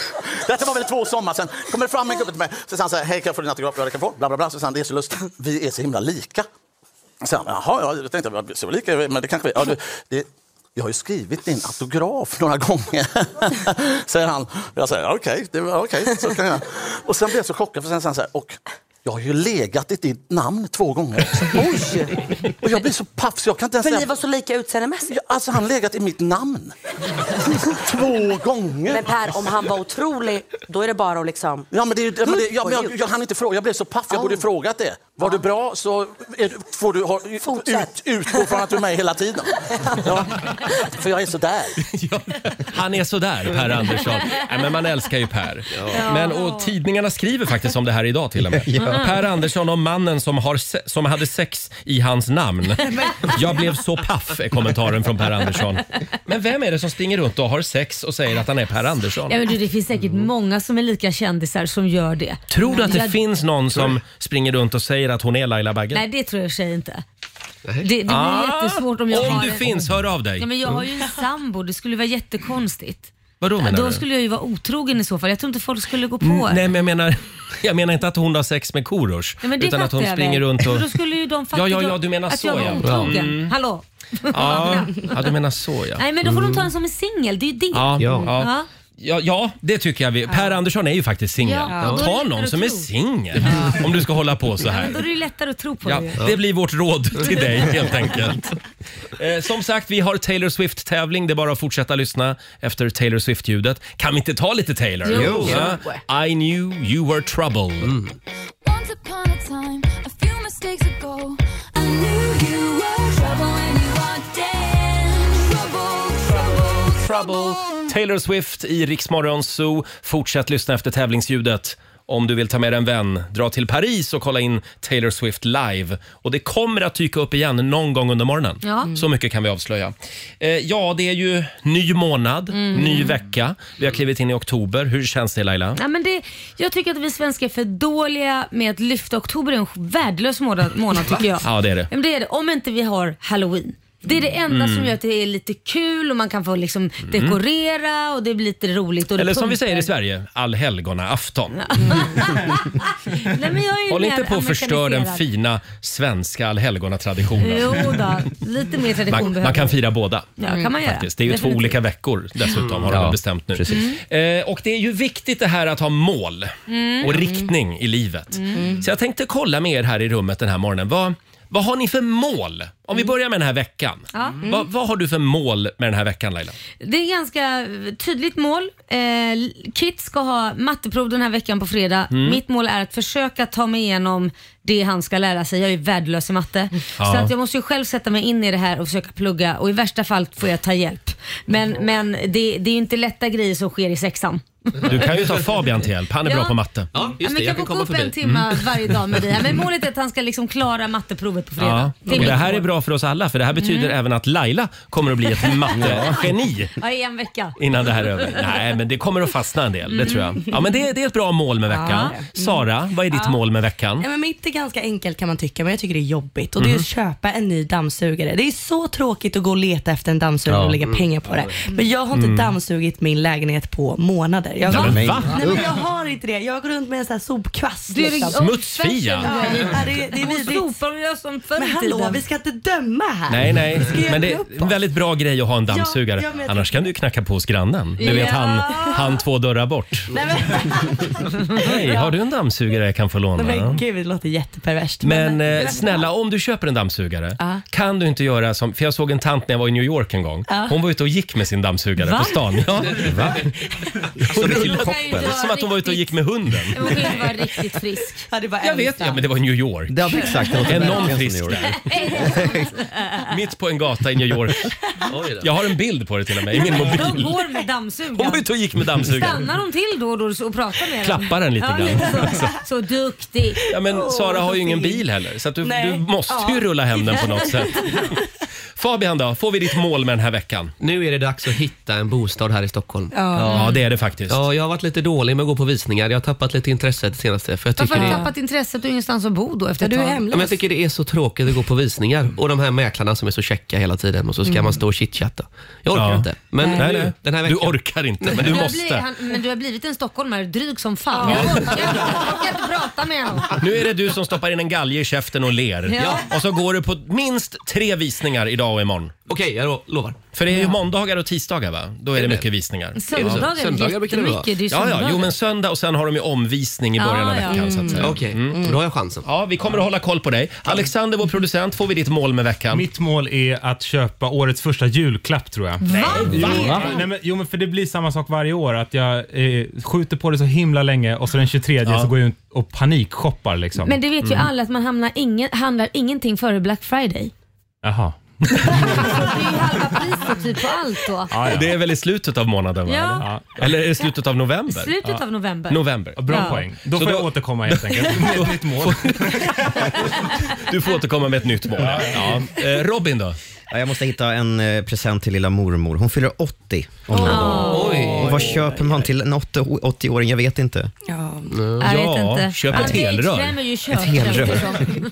Detta var väl två sommar sen. Kommer det fram en gubbe till mig. Så sa han så här, hej kan jag få din autograf? Ja det kan jag få. Bla bla bla. Så sa han, det är så lustigt. Vi är så himla lika. Så han, jaha, ja, jag tänkte att vi var lika, men det kanske vi ja, du, det, Jag har ju skrivit din autograf några gånger, säger han. Jag säger okej, det var okej, så kan jag. Och sen blev jag så chockad, för sen sa han så här, och jag har ju legat i ditt namn två gånger. Oj! Och jag blir så paff så jag kan inte ens För säga... ni var så lika utseendemässigt. Ja, alltså han har legat i mitt namn. Två gånger. Men Per, om han var otrolig, då är det bara att liksom... Ja, men det, är ju- men det, ja, men jag, jag hann inte fråga. Jag blev så paff. Jag borde frågat det. Var du bra så är, får du ha, ut, utgå från att du är med hela tiden. Ja, för jag är sådär. Han är sådär, Per Andersson. Nej, men man älskar ju Per. Ja. Men, och tidningarna skriver faktiskt om det här idag till och med. Ja. Per Andersson om mannen som, har se- som hade sex i hans namn. Jag blev så paff, är kommentaren från Per Andersson. Men vem är det som springer runt och har sex och säger att han är Per Andersson? Ja, men du, det finns säkert många som är lika kändisar som gör det. Mm. Tror du att det Jag- finns någon som springer runt och säger att hon är Laila Bagge? Nej, det tror jag i och för sig inte. Det, det blir Ah, jättesvårt om jag om har du en- finns, hör av dig. Ja, men jag har ju en sambo, det skulle vara jättekonstigt. Vadå menar Då du? skulle jag ju vara otrogen i så fall. Jag tror inte folk skulle gå på Mm, det. Nej, men jag menar, jag menar inte att hon har sex med Korosh. Nej, men det utan att hon fattar jag springer väl. runt och... Men Då skulle ju de fatta Ja, ja, då ja, du menar att så, jag ja. var otrogen. Mm. Hallå? Ja, ja, du menar så ja. Nej, men då får de ta Mm. en som är singel. Det är ju det. Ja, ja. Ja. Mm. Ja, ja, det tycker jag. Vi. Per Andersson är ju faktiskt singel. Ja, då är det Ta lättare någon att som är tro. singel om du ska hålla på så Men här. då är det ju lättare att tro på Ja, det. ju. det blir vårt råd till dig helt enkelt. Eh, som sagt, vi har Taylor Swift-tävling. Det är bara att fortsätta lyssna efter Taylor Swift-ljudet. Kan vi inte ta lite Taylor? Jo. Ja. I knew you were trouble. Once upon a time, a few mistakes ago, I knew you were trouble and you are dead. Trouble, trouble, Trouble. Taylor Swift i Riksmorgon Zoo. Fortsätt lyssna efter tävlingsljudet. Om du vill ta med en vän, dra till Paris och kolla in Taylor Swift live. Och det kommer att dyka upp igen någon gång under morgonen. Ja. Mm. Så mycket kan vi avslöja. Eh, ja, det är ju ny månad, Mm. ny vecka. Vi har klivit in i oktober. Hur känns det Laila? Nej, men det, jag tycker att vi svenskar är för dåliga med att lyfta oktober. är en värdelös månad, månad tycker jag. Ja, det är det. Ja, men det är det. Om inte vi har halloween. Det är det enda Mm. som gör att det är lite kul och man kan få liksom Mm. dekorera och det blir lite roligt. Och det Eller som vi punkar. säger i Sverige, allhelgonaafton. Nej, men jag är Håll mer inte på att förstöra den amerikaniserad. fina svenska allhelgonatraditionen. Jo då, lite mer tradition Man, behöver man kan fira båda. Mm. Ja, kan man göra. Faktiskt. Det är ju två Definitivt. olika veckor dessutom har de Ja, väl bestämt nu. Eh, och det är ju viktigt det här att ha mål Mm. och Mm. riktning i livet. Mm. Så jag tänkte kolla med er här i rummet den här morgonen. Vad, vad har ni för mål? Om vi börjar med den här veckan. Mm. Ja. Mm. Vad, vad har du för mål med den här veckan Laila? Det är ganska tydligt mål. Eh, Kit ska ha matteprov den här veckan på fredag. Mm. Mitt mål är att försöka ta mig igenom det han ska lära sig. Jag är värdelös i matte. Så Ja. att jag måste ju själv sätta mig in i det här och försöka plugga och i värsta fall får jag ta hjälp. Men, men det, det är ju inte lätta grejer som sker i sexan. Du kan ju ta Fabian till hjälp. Han är Ja. bra på matte. Ja, Ja, men vi kan, få gå upp en timme Mm. varje dag med dig. här. Men målet är att han ska liksom klara matteprovet på fredag. Ja. är Och mitt det här är mål. bra för oss alla för det här betyder Mm. även att Laila kommer att bli ett mattegeni. Ja, i en vecka. Innan det här är över. Nej, men det kommer att fastna en del. Det tror jag. Ja, men det, det är ett bra mål med veckan. Mm. Ja. Sara, vad är ditt Ja. mål med veckan? Mm. Ja, men mitt är ganska enkelt kan man tycka, men jag tycker det är jobbigt. Och Det är Mhm. att köpa en ny dammsugare. Det är så tråkigt att gå och leta efter en dammsugare Ja. och lägga Mm. pengar på det. Men jag har inte Mm. dammsugit min lägenhet på månader. Jag, Nej, men va? Nej, men jag har inte det. Jag går runt med en sån här sopkvast. Det är liksom. Smutsfia. Ja, det är, det är Hon vidrigt. sopar och gör som förr i Men hallå, tiden. vi ska inte döma här. Nej, nej, Skrev men det ni är upp en väldigt bra grej att ha en dammsugare. Ja, ja, men jag Annars kan du ju knacka på hos grannen. Du vet Ja. han, han två dörrar bort. Nej, men... Hej, har du en dammsugare jag kan få låna? Nej, men gud, det låter jätteperverst. Men eh, snälla, om du köper en dammsugare, Ja. kan du inte göra som... För jag såg en tant när jag var i New York en gång. Ja. Hon var ute och gick med sin dammsugare Va? på stan. Ja. Va? Hon Det kan ju rullade- inte vara Som att hon var ute och gick med hunden. Hon kan ju inte vara riktigt frisk. Ja, det var Jag vet, ja, men det var i New York. Ja, men exakt. Det var Enorm verkligen frisk som New där. Mitt på en gata i New York. Jag har en bild på det till och med i min De mobil. går med dammsugaren. Hon var ute och gick med dammsugaren. Stannar de till då och då och pratar med den? Klappar den lite ja, grann. Lite så. så duktig. Ja, men Sara har ju ingen bil heller, så att du, Nej. du måste ju Ja. rulla hem den på något sätt. Fabian då, får vi ditt mål med den här veckan? Nu är det dags att hitta en bostad här i Stockholm. Ja. Ja, det är det faktiskt. Ja, jag har varit lite dålig med att gå på visningar. Jag har tappat lite intresse det senaste. För jag Varför tycker har du det... tappat intresset och ingenstans att bo då efter ett tag? Ja, men jag tycker det är så tråkigt att gå på visningar Mm. och de här mäklarna som är så käcka hela tiden och så ska Mm. man stå och chitchatta. Jag orkar Ja. inte. Men Nej. Nej, nu, nej. Den här Du veckan... orkar inte, men har blivit- han, men du har blivit en stockholmare, dryg som fan. Jag orkar inte- jag orkar inte prata med honom. Nu är det du som stoppar in en galge i käften och ler. Ja. Och så går du på minst tre visningar idag och imorgon. Okej, jag lovar. För det är ju måndagar och tisdagar va? Då är det mycket visningar. Söndagar är det Söndagar brukar det vara. jättemycket, det är ja, ja, söndagar. jo men söndag och sen har de ju omvisning i början av Ah, ja. veckan så att säga. Mm. Okej, då har jag chansen. Ja, vi kommer att hålla koll på dig. Alexander, vår producent, får vi ditt mål med veckan? Mitt mål är att köpa årets första julklapp tror jag. Nej. Jo, Va? Nej, men, jo men för det blir samma sak varje år. Att jag eh, skjuter på det så himla länge och så den 23 så går jag ut och panikshoppar liksom. Men det vet ju Mm. alla att man hamnar ingen, handlar ingenting före Black Friday. Jaha. Så typ på allt då. Det är väl i slutet av månaden? Va? Ja. Eller i slutet av november? Slutet av november. November. Bra Ja. poäng. Då får jag återkomma helt enkelt med ett nytt mål. du får återkomma med ett nytt mål. Ja. Eh, Robin då? Jag måste hitta en eh, present till lilla mormor. Hon fyller 80 om några dagar. Och vad köper man till en 80 80-åring? Jag vet inte. Ja, Jag vet inte. köp ett helrör. Anti-age-kräm är ju liksom. kört. Ett helrör. känns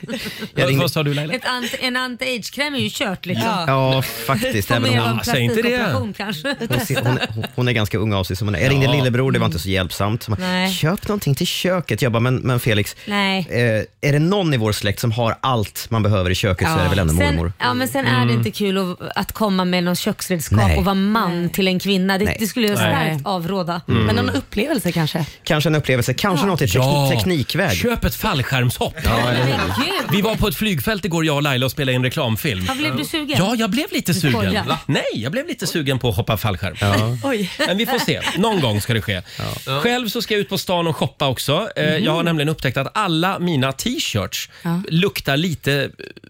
det som. Jag ringde- sa du Ett anti, en anti-age-kräm är ju kört liksom. Ja, faktiskt. Får Även med om av hon, en plastikoperation kanske. hon, ser, hon, hon är ganska ung av sig som hon är. Jag ringde Ja. Mm. lillebror, det var inte så hjälpsamt. Som, Nej. Köp någonting till köket. Jag bara, men, men Felix, Nej. eh, är det någon i vår släkt som har allt man behöver i köket så är det väl ändå mormor. Mm. Sen, ja, men sen är Mm. det inte kul att, att komma med någon köksredskap Nej. och vara man till en kvinna. Det, Nej. det skulle jag Nej. starkt avråda. Mm. Men någon upplevelse kanske? Kanske en upplevelse, kanske något i teknik, Ja. teknikväg. Köp ett fallskärmshopp. Ja, eller hur? Vi var på ett flygfält igår jag och Laila och spelade in reklamfilm. Ja, blev du sugen? Ja, jag blev lite Du sugen. skojar. Va? Nej, jag blev lite sugen på att hoppa fallskärm. Oj. Men vi får se. Någon gång ska det ske. Själv så ska jag ut på stan och shoppa också. Eh, Mhm. Jag har nämligen upptäckt att alla mina t-shirts luktar lite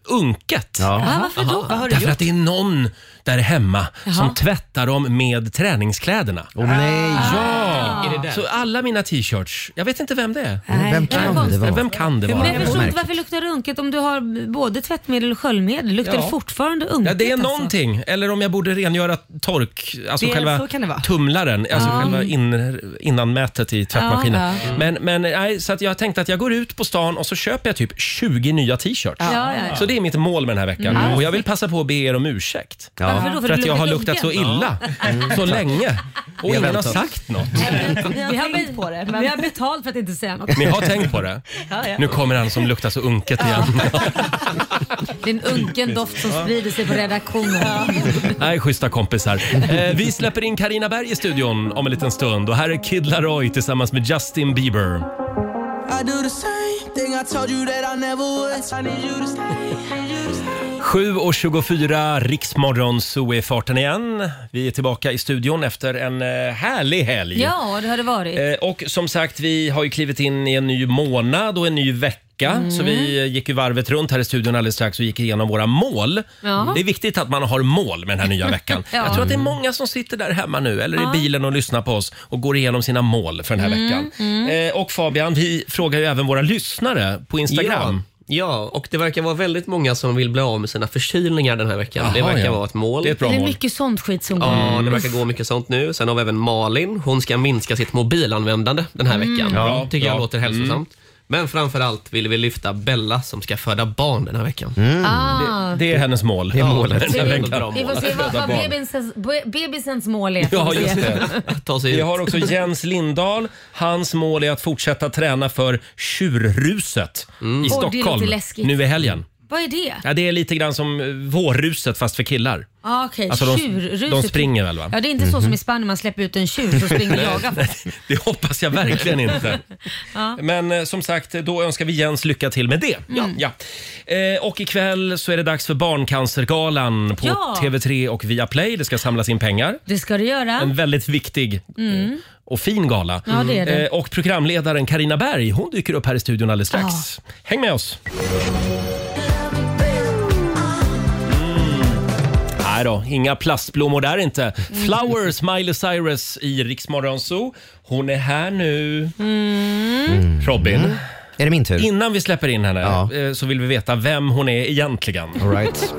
unket. Ja, varför då? Vad har du Därför gjort? att det är någon där hemma Jaha. som tvättar dem med träningskläderna. Åh nej! Ah. Ja! Är det där? Så alla mina t-shirts, jag vet inte vem det är. Nej. Vem kan det vara? Vem kan det vara? Men jag förstår inte varför det luktar runket om du har både tvättmedel och sköljmedel. Luktar Ja. det fortfarande unket? Ja, det är alltså? någonting. Eller om jag borde rengöra tork, alltså Det- själva så kan det vara. tumlaren, alltså Ja. själva in, innanmätet i tvättmaskinen. Ja, ja. Men, men nej, så att jag tänkte att jag går ut på stan och så köper jag typ 20 nya t-shirts. Ja, ja, ja. Så det är mitt mål med den här veckan. Mm. Och jag vill passa på att be er om ursäkt. Varför då? För För att det jag har luktar luktat så illa. illa Ja. Mm. så länge. Vi Och har ingen har väntat. sagt något. Vi har, be- på det, vi har betalt för att inte säga något. Ni har tänkt på det? Ja, ja. Nu kommer han som luktar så unket igen. Det är en unken doft som sprider sig på redaktionen. Nej, schyssta kompisar. Eh, vi släpper in Karina Berg i studion om en liten stund och här är Kid Laroi tillsammans med Justin Bieber. I do the same thing I told you that I never would. I need you to stay. 7.24, Riksmorgon, så är farten igen. Vi är tillbaka i studion efter en eh, härlig helg. Ja, det har det varit. Eh, Och som sagt, vi har ju klivit in i en ny månad och en ny vecka. Mm. Så vi eh, gick ju varvet runt här i studion alldeles strax och gick igenom våra mål. Ja. Det är viktigt att man har mål med den här nya veckan. Ja. Jag tror att det är många som sitter där hemma nu eller Ja. i bilen och lyssnar på oss och går igenom sina mål för den här Mm, veckan. Eh, Och Fabian, vi frågar ju även våra lyssnare på Instagram. Ja. Ja, och det verkar vara väldigt många som vill bli av med sina förkylningar den här veckan. det Jaha, verkar ja. vara ett mål. Det är ett Det är mycket sånt skit som går. Ja, Mm. det verkar gå mycket sånt nu. Sen har vi även Malin. Hon ska minska sitt mobilanvändande den här Mm. veckan. Ja, Tycker jag bra. låter hälsosamt. Men framför allt vill vi lyfta Bella som ska föda barn den här veckan. Ah. Det är hennes mål. Det är målet. Vi Den här vi veckan. får se vad, vad bebisens, be- bebisens mål är. Ja, Får vi se. just det. Ta sig Vi ut. har också Jens Lindahl. Hans mål är att fortsätta träna för Tjurruset i Mm. Åh, det låter Stockholm läskigt. nu i helgen. Vad är det? Ja, det är lite grann som eh, vårruset fast för killar. Ah, okay. Alltså, de- Tjurruset. de springer väl, va? typ- Ja, det är inte så som Mhm. i Spanien man släpper ut en tjur som springer och Nej, jagar folk. Det hoppas jag verkligen inte. Ja. Men eh, som sagt, då önskar vi Jens lycka till med det. Mm. Ja, ja. Eh, och ikväll så är det dags för Barncancergalan på Ja. TV3 och Viaplay. Det ska samlas in pengar. Det ska du göra. En väldigt viktig Mm. och fin gala. Ja, det är det. Eh, Och programledaren Karina Berg, hon dyker upp här i studion alldeles strax. Häng med oss! Mm. Nej då, inga plastblommor där inte. Mm. Flowers, Miley Cyrus i Rix Morgon Zoo. Hon är här nu. Mm. Mm. Robin. Är det min tur? Innan vi släpper in henne eh, så vill vi veta vem hon är egentligen. All right.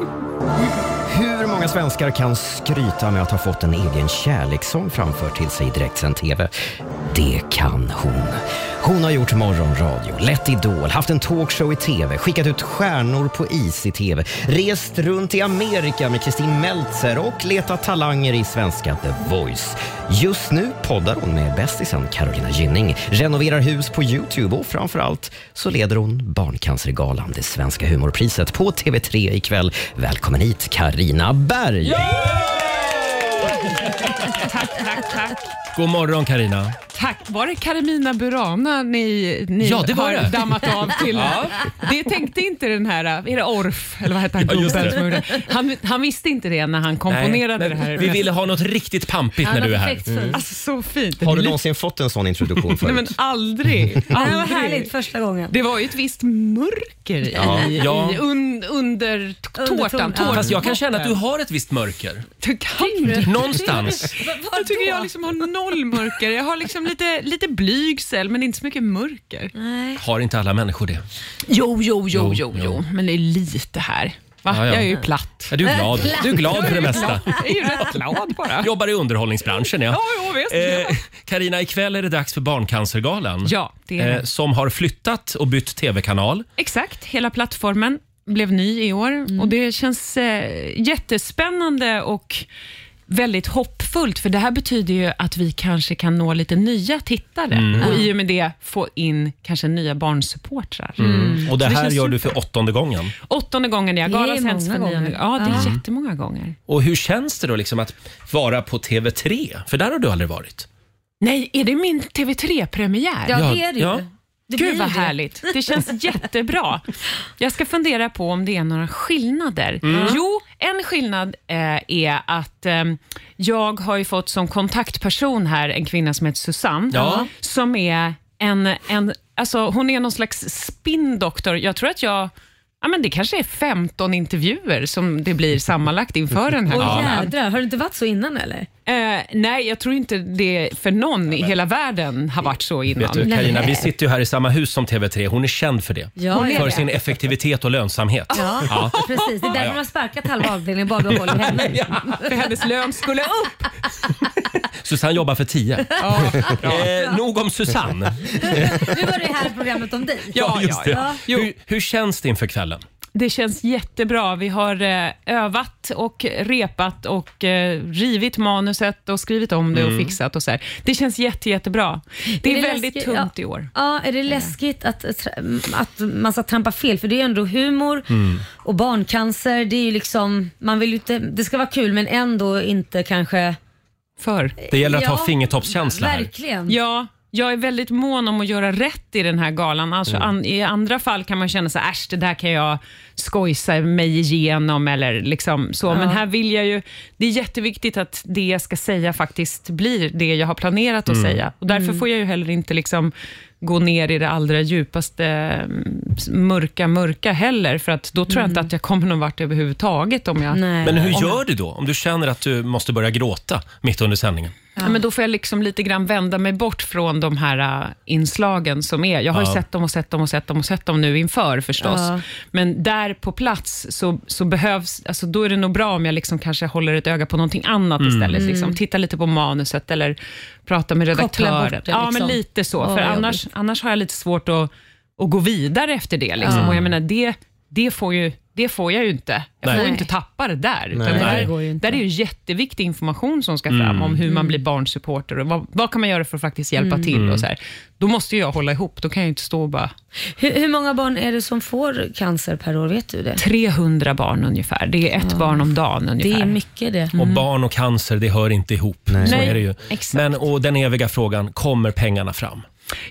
Hur många svenskar kan skryta med att ha fått en egen kärlekssång framförd till sig i direktsänd TV? Det kan hon. Hon har gjort morgonradio, lett Idol, haft en talkshow i TV, skickat ut stjärnor på is i TV, rest runt i Amerika med Kristin Meltzer och letat talanger i svenska The Voice. Just nu poddar hon med bästisen Carolina Gynning, renoverar hus på Youtube och framförallt så leder hon Barncancergalan, det svenska humorpriset, på TV3 ikväll. Välkommen hit Karina Berg! tack, tack, tack. God morgon Karina. Tack vare Carmina Burana ni, ni Ja, det var har det. dammat av till. Ja. Det tänkte inte den här, är det Orf, eller vad hette han, Ja, just gubben det. som gjorde det? han, han visste inte det när han komponerade Nej, det men här. Vi ville ha något riktigt pampigt när du är här. Mm. Alltså så fint. Har du någonsin fått en sån introduktion Nej förut? men aldrig. Det var aldrig. härligt första gången. Det var ju ett visst mörker i, Ja. Ja. i un, under t- tårtan. tårtan. Fast jag kan känna att du har ett visst mörker. Du kan Någonstans. Jag tycker jag liksom har noll mörker. Jag har liksom lite, lite blygsel men inte så mycket mörker. Har inte alla människor det? Jo, jo, Jo, jo, jo, jo. jo. Men det är lite här. Va? Ja, ja. Jag är ju platt. Ja, du är glad. Du är glad för det mesta. Jag är ju rätt glad bara. Jobbar i underhållningsbranschen ja. Ja, jo, visst. Eh, Carina, ikväll är det dags för Barncancergalan. Eh, Ja, det är det. som har flyttat och bytt tv-kanal. Exakt, hela plattformen blev ny i år Mm. och det känns eh, jättespännande och väldigt hoppfullt för det här betyder ju att vi kanske kan nå lite nya tittare Mm. och i och med det få in kanske nya barnsupportrar. Mm. Och det Så här känns gör du super. för åttonde gången. Åttonde gången jag Det är galas sänds för många nionde gånger. Ja, det är Ja. jättemånga gånger. Och hur känns det då liksom att vara på TV3? För där har du aldrig varit. Nej, är det min TV3-premiär? Ja, det är det ju. Ja. Det blir Gud vad det. härligt. Det känns jättebra. Jag ska fundera på om det är några skillnader. Mm. Jo, en skillnad eh, är att eh, jag har ju fått som kontaktperson här en kvinna som heter Susanne, Ja. som är en, en alltså, hon är någon slags spindoktor. Jag tror att jag Ja, men det kanske är 15 intervjuer som det blir sammanlagt inför den här Åh galan. jädrar, har det inte varit så innan eller? Eh, nej, jag tror inte det för någon i hela världen har varit så innan. Vet du, Carina, vi sitter ju här i samma hus som TV3. Hon är känd för det. Ja, Hon är för det. sin effektivitet och lönsamhet. Ja, precis. Det Ja, är därför ja. man har sparkat halva avdelningen bara för att hålla henne. För hennes lön skulle upp. Susanne jobbar för 10. Ja. Eh, nog om Susanne. Nu var det här programmet om dig. Hur, hur känns det inför kvällen? Det känns jättebra. Vi har eh, övat och repat och eh, rivit manuset och skrivit om det Mm. och fixat och så här. Det känns jätte, jättebra. Det är, väldigt läskigt- tungt ja. i år. Ja, Eh. är det läskigt att, att man ska trampa fel? För det är ju ändå humor Mm. och barncancer. Det är ju liksom, man vill ju inte, det ska vara kul men ändå inte kanske... För? Det gäller att Ja, ha fingertoppskänsla här. Verkligen. Ja, jag är väldigt mån om att göra rätt i den här galan. Alltså, Mm. an, I andra fall kan man känna så här, äsch, det där kan jag skojsa mig igenom eller liksom så. Ja. Men här vill jag ju... Det är jätteviktigt att det jag ska säga faktiskt blir det jag har planerat att Mm. säga. Och därför Mm. får jag ju heller inte liksom gå ner i det allra djupaste mm, mörka, mörka heller, för att då tror Mm. jag inte att jag kommer någon vart överhuvudtaget om jag... Men hur om jag- gör du då om du känner att du måste börja gråta mitt under sändningen? Ja. men då får jag liksom lite grann vända mig bort från de här äh, inslagen som är. Jag har Ja. ju sett dem och sett dem och sett dem och sett dem nu inför förstås. Ja. Men där på plats så, så behövs, alltså då är det nog bra om jag liksom kanske håller ett öga på någonting annat Mm. istället. Mm. Liksom. Titta lite på manuset eller prata med Koppla bort det, redaktören. Ja, liksom. men lite så. Åh, För vad annars, annars har jag lite svårt att, att gå vidare efter det. Liksom. Ja. Och jag menar, det det får, ju, det får jag ju inte. Jag Nej. får ju inte tappa det där. Utan Nej. Nej, det där, går ju där är ju jätteviktig information som ska fram Mm. om hur Mm. man blir barnsupporter och vad, vad kan man göra för att faktiskt hjälpa Mm. till. Mm. Och så här. Då måste ju jag hålla ihop, då kan jag ju inte stå och bara Hur, hur många barn är det som får cancer per år? Vet du det? 300 barn ungefär. Det är ett Ja. barn om dagen ungefär. Det är mycket det. Mm. Och barn och cancer, det hör inte ihop. Så Nej, är det ju. exakt. Men, och den eviga frågan, kommer pengarna fram?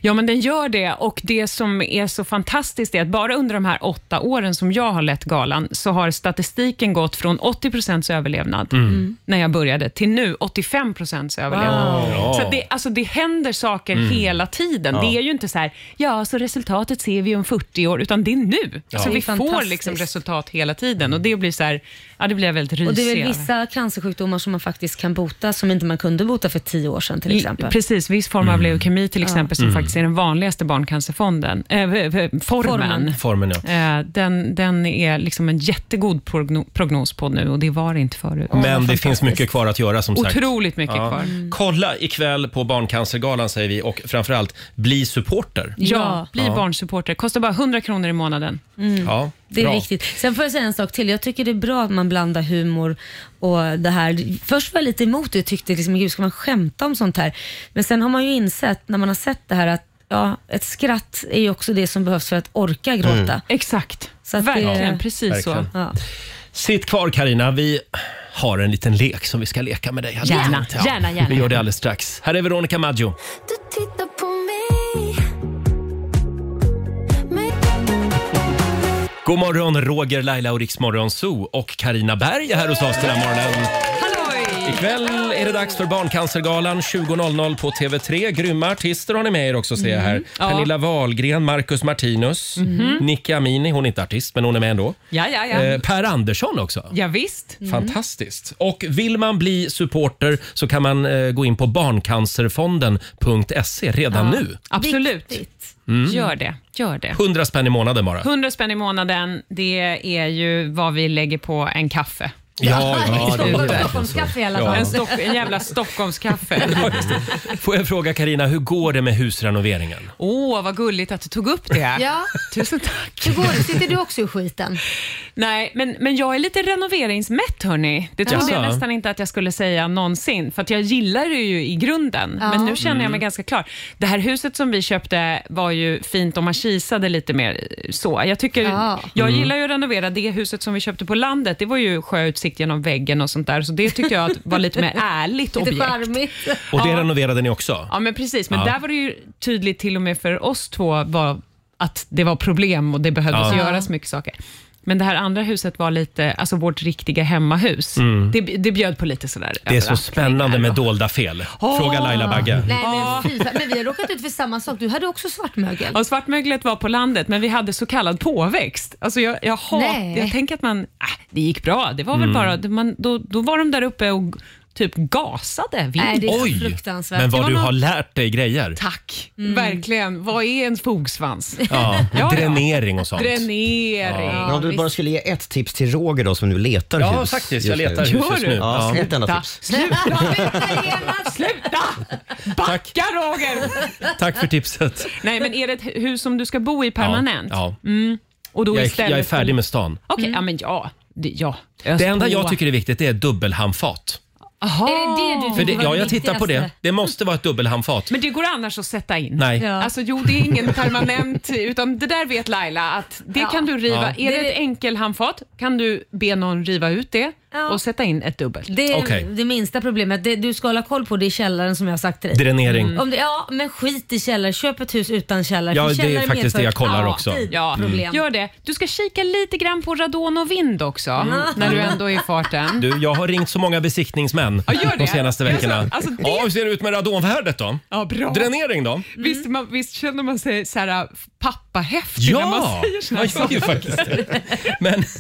Ja, men den gör det. Och Det som är så fantastiskt är att bara under de här åtta åren som jag har lett galan, så har statistiken gått från 80 överlevnad, Mm. Mm. när jag började, till nu 85 överlevnad. Wow. Ja. Så att det, alltså, det händer saker Mm. hela tiden. Ja. Det är ju inte så här, ja, så resultatet ser vi om 40 år, utan det är nu. Ja. Så Det är vi får fantastiskt. liksom resultat hela tiden. Och Det blir så här, ja, det blir jag väldigt Och rysig det är väl över. vissa cancersjukdomar som man faktiskt kan bota, som inte man kunde bota för tio år sedan till exempel. Precis, viss form av Mm. leukemi till Ja. exempel, som Mm. faktiskt är den vanligaste barncancerfonden, äh, formen. Formen. Formen, ja. Eh, den, den är liksom en jättegod progno, prognos på nu och det var det inte förut. Men det finns mycket kvar att göra som sagt. Otroligt mycket kvar. Mm. Kolla ikväll på Barncancergalan säger vi och framförallt bli supporter. Ja, bli barnsupporter. Kostar bara 100 kronor i månaden. Mm. Ja, Det är bra. viktigt. Sen får jag säga en sak till. Jag tycker det är bra att man blandar humor och det här. Först var jag lite emot det och tyckte liksom, gud ska man skämta om sånt här? Men sen har man ju insett när man har sett det här att ja, ett skratt är ju också det som behövs för att orka gråta. Mm. Exakt. Så att det- Verkligen, precis Verkligen. Ja. Sitt kvar Karina. vi har en liten lek som vi ska leka med dig. hade jag Gärna, tänkt. gärna, gärna. Vi gör det alldeles strax. Här är Veronica Maggio. Titta på mig. God morgon Roger, Laila och Riksmorgon Zoo och Karina Berg är här hos oss den här morgonen. Ikväll är det dags för Barncancergalan 20.00 på TV3. Grymma artister har ni med er också ser jag Mm. här. Mhm. Ja. Pernilla Wahlgren, Marcus Martinus, Mhm. Nicky Amini, hon är inte artist men hon är med ändå. Ja, ja, Mm. ja. Eh, per Andersson också. Ja, visst. Fantastiskt. Och vill man bli supporter så kan man eh, gå in på barncancerfonden.se redan Ja. nu. Absolut. Mm. Gör det. Gör det. 100 spänn i månaden bara. 100 spänn i månaden, det är ju vad vi lägger på en kaffe. Ja, ja, det är Stockholm- verkligen Stockholmskaffe så. i alla Ja. fall. En, Stock, en jävla Stockholmskaffe. Får jag fråga Karina, hur går det med husrenoveringen? Åh, vad gulligt att du tog upp det. Ja. Tusen tack. Hur går det? Sitter du också i skiten? Nej, men, men jag är lite renoveringsmätt hörni. Det trodde Jaså? jag nästan inte att jag skulle säga någonsin, för att jag gillar det ju i grunden. Ja. Men nu känner jag Mm. mig ganska klar. Det här huset som vi köpte var ju fint om man kisade lite mer eh, så. Jag, tycker, Ja. jag Mm. gillar ju att renovera. Det huset som vi köpte på landet, det var ju sjöutsikt genom väggen och sånt där, så det tyckte jag att var lite mer ärligt Lite objekt. charmigt. Och det Ja. renoverade ni också? Ja, men precis. Men Ja. där var det ju tydligt till och med för oss två var att det var problem och det behövdes Ja. göras mycket saker. Men det här andra huset var lite, alltså vårt riktiga hemmahus. Mm. Det, det bjöd på lite sådär Det är så överraskning spännande där med då. dolda fel. Fråga Laila Bagge. Nej, men, fy fan. men vi har råkat ut för samma sak. Du hade också svartmögel. Ja, svartmöglet var på landet, men vi hade så kallad påväxt. Alltså jag, jag, hat, Nej. jag tänker att man, äh, det gick bra. Det var Mm. väl bara, man, då, då var de där uppe och g- typ gasade. vilt. Nej, det är Oj! fruktansvärt. Men Det vad var du någon- har lärt dig grejer. Tack, verkligen. Vad är en fogsvans? Mm. Ja, dränering och sånt. Dränering. Ja. Men om du bara skulle ge ett tips till Roger då som nu letar Ja, hus. faktiskt, just jag letar nu. hus just nu. Ja, Ja. Ett enda Ta- tips. Sluta! Tack, Ja, Roger! tack för tipset. Nej, men är det ett hus som du ska bo i permanent? Ja, ja. Mm. Och då Jag är, istället jag är färdig med stan. Okej, ja men ja. Det, ja. Det enda på. jag tycker är viktigt det är dubbelhandfat. Aha. Är det det du För det, tycker var ja, det jag tittar på det. viktigaste? Det måste vara ett dubbelhandfat. Men det går annars att sätta in? Nej. Ja. Alltså jo, det är ingen permanent, utan det där vet Laila att det kan du riva. Ja. Är det, ett enkelhandfat kan du be någon riva ut det och sätta in ett dubbelt. Det är Okej. det minsta problemet. Det du ska hålla koll på det är källaren som jag har sagt till dig. Dränering. Mm. Om det, ja, men skit i källare. Köp ett hus utan källare. Ja, För det är källare faktiskt medför det jag kollar alltid också. Mm. Ja, Problem. gör det. Du ska kika lite grann på radon och vind också, Mm. när du ändå är i farten. Du, jag har ringt så många besiktningsmän gör de det. senaste veckorna. Alltså, alltså, det- Ja, hur ser det ut med radonvärdet då? Ja, bra. Dränering då? Visst, man, visst känner man sig så här pappahäftig när man Ja, säger såna man här gör ju saker? faktiskt det. Men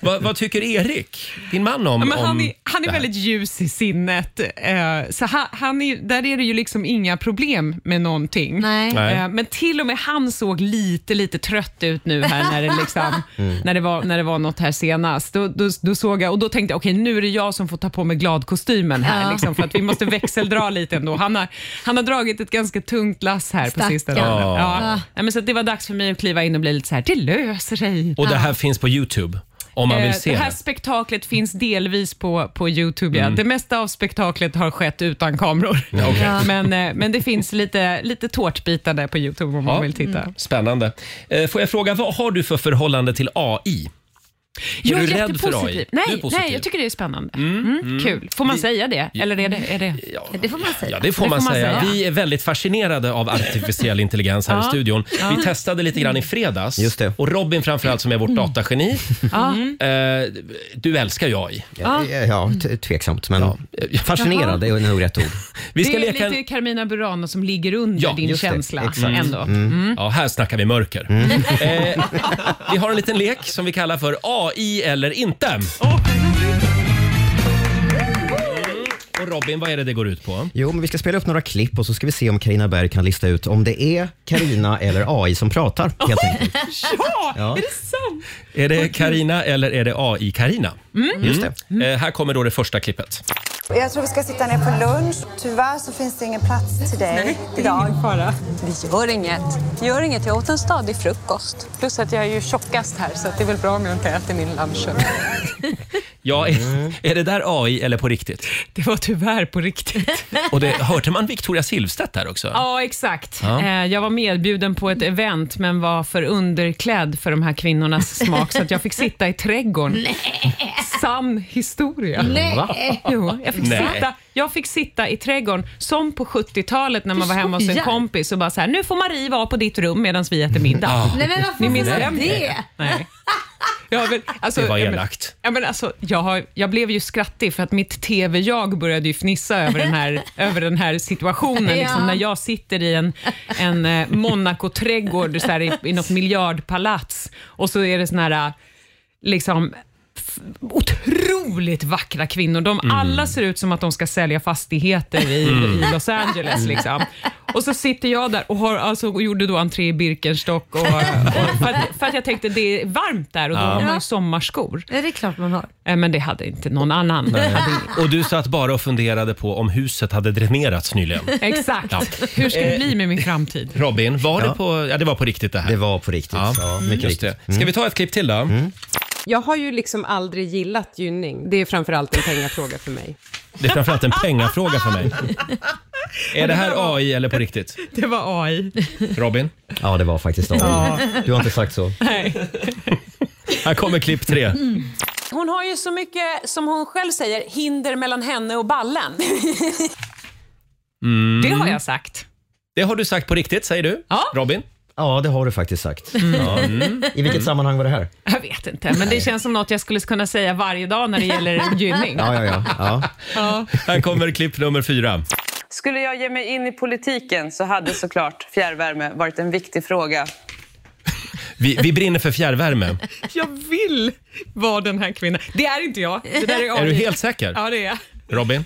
Vad, vad tycker Erik, din man, om, Ja, men han om är, han det är här? väldigt ljus i sinnet. eh, Så han, han är, där är det ju liksom inga problem med någonting. Nej. Eh, Men till och med han såg lite, lite trött ut nu här när det, liksom, Mm. när det, var, när det var något här senast. Då, då, då såg jag, och då tänkte jag, okej nu är det jag som får ta på mig gladkostymen här, Ja. liksom, för att vi måste växeldra lite ändå. Han har, han har dragit ett ganska tungt lass här på Stackarn. sistone. Ja. Ja. Nej, men så att det var dags för mig att kliva in och bli lite så här, det löser sig. Och det här finns på Youtube, om man Eh, vill se det det. här spektaklet finns delvis på, på Youtube. Ja. Mm. Det mesta av spektaklet har skett utan kameror. Ja, okej. Ja. Men, eh, men det finns lite, lite tårtbitar där på Youtube om man vill titta. Mm. Spännande. Eh, Får jag fråga, vad har du för förhållande till AI? Är Jag du är rädd för AI? jättepositiv. Du är Nej, positiv. nej, jag tycker det är spännande. Mm, Mm. mm. Kul. Får man säga det? Eller är det... Är det? det får man säga. Ja, det får man säga. Vi är väldigt fascinerade av artificiell intelligens här i Ja. studion. Ja. Vi testade lite grann i fredags. Och Robin framförallt som är vårt datageni. Ja. Eh, Du älskar ju AI. Ja. Ja, t- tveksamt, men fascinerad är nog rätt ord. Vi ska det är leka en- lite Carmina Burana som ligger under din just det. känsla Exakt. ändå. Mm. Mm. Mm. Ja, här snackar vi mörker. Eh, vi har en liten lek som vi kallar för AI eller inte. Mm. Och Robin, vad är det det går ut på? Jo, men vi ska spela upp några klipp och så ska vi se om Karina Berg kan lista ut om det är Karina eller AI som pratar. Helt enkelt. Ja, Ja. är det sant? Är det Karina eller är det AI Karina? Mm. Just det. Eh, här kommer då det första klippet. Jag tror vi ska sitta ner på lunch. Tyvärr Alltså, så finns det ingen plats till dig Nej, det är idag. Ingen fara. Det gör inget. gör inget. Jag åt en stadig frukost. Plus att jag är ju tjockast här så att det är väl bra om jag inte äter min lunch. Ja, är, är det där AI eller på riktigt? Mm. Det var tyvärr på riktigt. Och det, hörde man Victoria Silvstedt där också? Ja, alltså, exakt. Ja. Eh, Jag var medbjuden på ett event men var för underklädd för de här kvinnornas smak så att jag fick sitta i trädgården. Sann historia. Nej. Va? Jo, jag, fick Nej. sitta, jag fick sitta i trädgården som på 70-talet när man Du var hemma hos en skojar. kompis och bara så här, nu får Marie vara på ditt rum medan vi äter middag. Nej, men varför Ni minns var vem det? Nej. Ja, men, alltså, Det var ja, men- elakt. Ja, men alltså, jag, har, jag blev ju skrattig för att mitt TV-jag började ju fnissa över den här, över den här situationen. Ja. Liksom, när jag sitter i en, en eh, Monaco-trädgård så här, i, i något miljardpalats och så är det sån här eh, liksom, f- otroligt vackra kvinnor. De alla ser ut som att de ska sälja fastigheter i, Mm. i Los Angeles. Liksom. Och så sitter jag där och, har, alltså, och gjorde då entré i Birkenstock och, och, för, att, för att jag tänkte det är varmt där och då Ja. har man ju sommarskor. Ja, det är klart man har. Eh, Men det hade inte någon annan. Nej. Hade- Och du satt bara och funderade på om huset hade dränerats nyligen. Exakt. Ja. Hur ska det Eh, bli med min framtid? Robin, var det Ja. på... Ja, det var på riktigt det här. Det var på riktigt. Ja, Ja, mycket mycket riktigt. riktigt. Mm. Ska vi ta ett klipp till då? Jag har ju liksom aldrig gillat gynning. Det är framförallt en pengafråga för mig. Det är framförallt en pengafråga för mig. Är det här AI eller på riktigt? Det var AI. Robin? Ja, det var faktiskt AI. Ja. Du har inte sagt så. Nej. Här kommer klipp tre. Hon har ju så mycket, som hon själv säger, hinder mellan henne och ballen. Mm. Det har jag sagt. Det har du sagt på riktigt, säger du? Ja. Robin? Ja, det har du faktiskt sagt. Mm. Ja. Mm. I vilket Mm. sammanhang var det här? Jag vet inte, men det känns som något jag skulle kunna säga varje dag när det gäller gynning. Ja, ja, ja. ja. Ja. Här kommer klipp nummer fyra. Skulle jag ge mig in i politiken så hade såklart fjärrvärme varit en viktig fråga. Vi, vi brinner för fjärrvärme. Jag vill vara den här kvinnan. Det är inte jag. Det där är, Är du AI. helt säker? Ja, det är jag. Robin?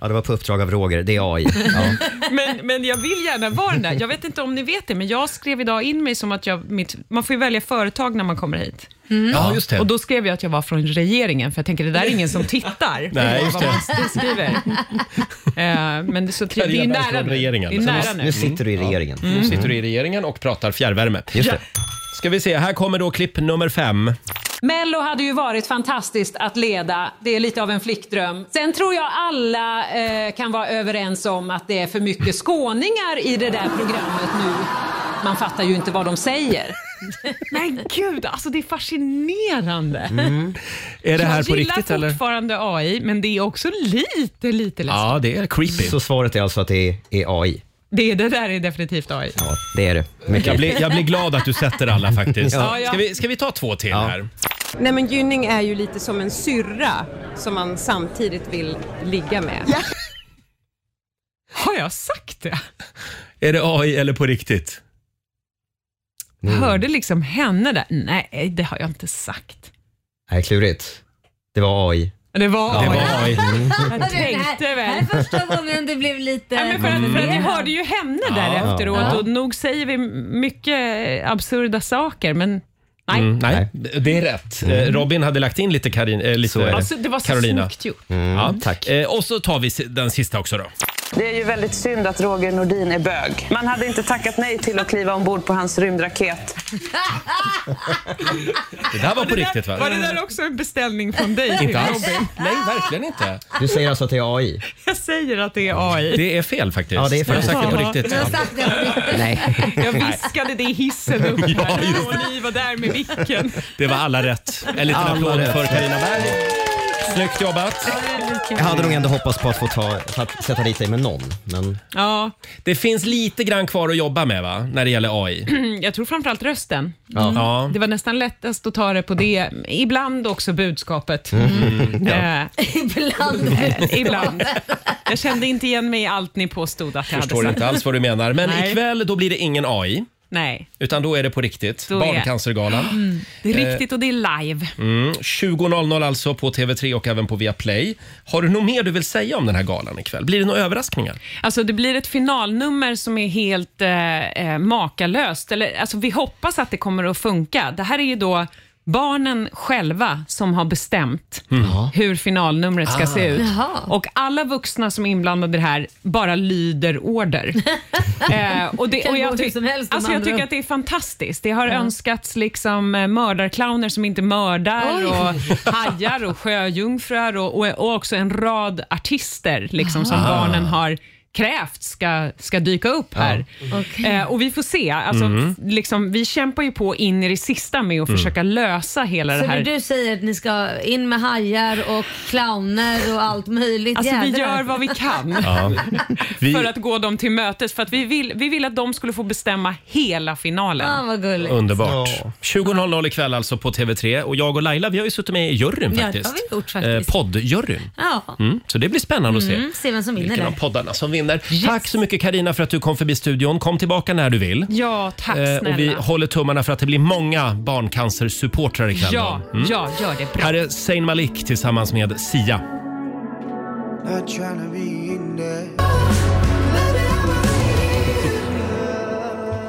Ja, det var på uppdrag av Roger. Det är AI. Ja. Men, men jag vill gärna vara den där. Jag vet inte om ni vet det, men jag skrev idag in mig som att jag... Mitt, man får ju välja företag när man kommer hit. Mm. Ja, just det. Och då skrev jag att jag var från regeringen, för jag tänker det där är ingen som tittar. Nej, just Vad det. man skriver. Eh, men det, är så tri- det är ju Karriär nära från nu. regeringen. Det är nära nu. Mm. Ja. Mm. Mm. Nu sitter du i regeringen och pratar fjärrvärme. Just det. Ska vi se, här kommer då klipp nummer fem. Mello hade ju varit fantastiskt att leda. Det är lite av en flickdröm. Sen tror jag alla eh, kan vara överens om att det är för mycket skåningar i det där programmet nu. Man fattar ju inte vad de säger. Men gud, alltså det är fascinerande. Mm. Är det här jag på gillar riktigt eller? fortfarande AI, men det är också lite, lite läskigt. Ja, det är creepy. Så svaret är alltså att det är, är AI? Det, det där är definitivt AI. Ja, det är det. Mycket Jag blir, riktigt. jag blir glad att du sätter alla faktiskt. Ja, ja. Ska, vi, ska vi ta två till här? Nej men Gynning är ju lite som en syrra som man samtidigt vill ligga med. Har jag sagt det? Är det AI eller på riktigt? Mm. Hörde liksom henne där? Nej, det har jag inte sagt. Nej, klurigt. Det var AI. Det var Det AI. var AI. Jag tänkte Det här väl. är första gången det blev lite... Nej, men för, att, för att jag hörde ju henne Ja. där efteråt Ja. och nog säger vi mycket absurda saker, men nej. Mm, nej, det är rätt. Eh, Robin hade lagt in lite, Karin, eh, lite Mm. Så är det. Alltså, det var så Carolina. snyggt gjort. Ja. Tack. Och så tar vi si- den sista också då. Det är ju väldigt synd att Roger Nordin är bög. Man hade inte tackat nej till att kliva ombord på hans rymdraket. Det där var på riktigt va? Var det där också en beställning från dig? Inte alls. Robin? Nej, verkligen inte. Du säger alltså att det är AI? Jag säger att det är AI. Det är fel faktiskt. Ja, det är faktiskt Jag har sagt det på fel. riktigt. Du har sagt det på riktigt. Nej. Jag viskade det i hissen upp där. Ja, just och ni var där med micken. Det var alla rätt. En liten Alla applåd rätt. för Carina Berg. Snyggt jobbat. Jag hade nog ändå hoppats på att få ta, att sätta dit dig med någon. Men Ja, Det finns lite grann kvar att jobba med va? När det gäller AI. jag tror framförallt rösten. Ja. Ja. Det var nästan lättast att ta det på det. Ibland också budskapet. Mm, ja. Eh, Ibland. Ibland. Jag kände inte igen mig i allt ni påstod att jag Jag förstår hade inte alls vad du menar. Men Nej. ikväll då blir det ingen AI. Nej. Utan då är det på riktigt. Då är- Barncancergalan. Mm. Det är Eh, riktigt och det är live. Mm, 20.00 alltså på TV3 och även på Viaplay. Har du något mer du vill säga om den här galan ikväll? Blir det några överraskningar? Alltså det blir ett finalnummer som är helt eh, eh, makalöst. Eller, alltså vi hoppas att det kommer att funka. Det här är ju då barnen själva som har bestämt hur finalnumret ska Ah. se ut. Jaha. Och alla vuxna som är inblandade i det här bara lyder order. eh, och det, Kan och gå jag, hur som helst, de alltså jag andra. tycker att det är fantastiskt. Det har Ja. önskats liksom eh, mördarclowner som inte mördar Oj. och hajar och sjöjungfrur och, och, och också en rad artister liksom, som Ah. barnen har krävt ska, ska dyka upp Ja. här. Okej. Eh, och vi får se. Alltså, Mm. f- liksom, vi kämpar ju på in i det sista med att Mm. försöka lösa hela Så det här. när du säger att ni ska in med hajar och clowner och allt möjligt. Alltså, vi jävlar. gör vad vi kan Ja. Vi- för att gå dem till mötes. För att vi vill, vi vill att de skulle få bestämma hela finalen. Ah, vad gulligt. Underbart. 20.00 ikväll alltså på TV3 och jag och Laila vi har ju suttit med i juryn Ja, det har faktiskt. vi gjort faktiskt. Eh, poddjuryn. Ja. Mm, så det blir spännande att Mm, se se vem som vinner vilken av där. poddarna som vinner. Tack så mycket Karina för att du kom förbi studion. Kom tillbaka när du vill. Ja, tack Eh, snälla. och vi håller tummarna för att det blir många barncancersupportrar ikväll. Ja, då. Mm. ja, gör det bra. Här är Zayn Malik tillsammans med Sia. Not tryna be in there.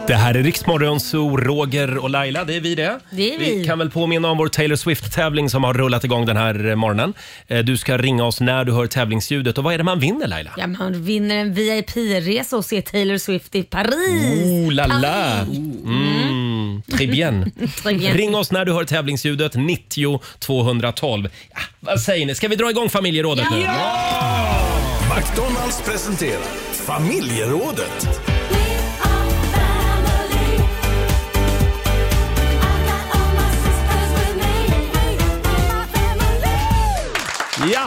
Det här är Riksmorgon Zoo, Roger och Laila. Det är vi det. Det är vi. kan väl påminna om vår Taylor Swift-tävling som har rullat igång den här eh, morgonen. Eh, Du ska ringa oss när du hör tävlingsljudet. Och vad är det man vinner Laila? Ja, man vinner en VIP-resa och ser Taylor Swift i Paris. Oh la la! Mm. Très bien. Très bien. Ring oss när du hör tävlingsljudet. 90 212. Ja, vad säger ni? Ska vi dra igång familjerådet nu? McDonalds presenterar Familjerådet. Ja!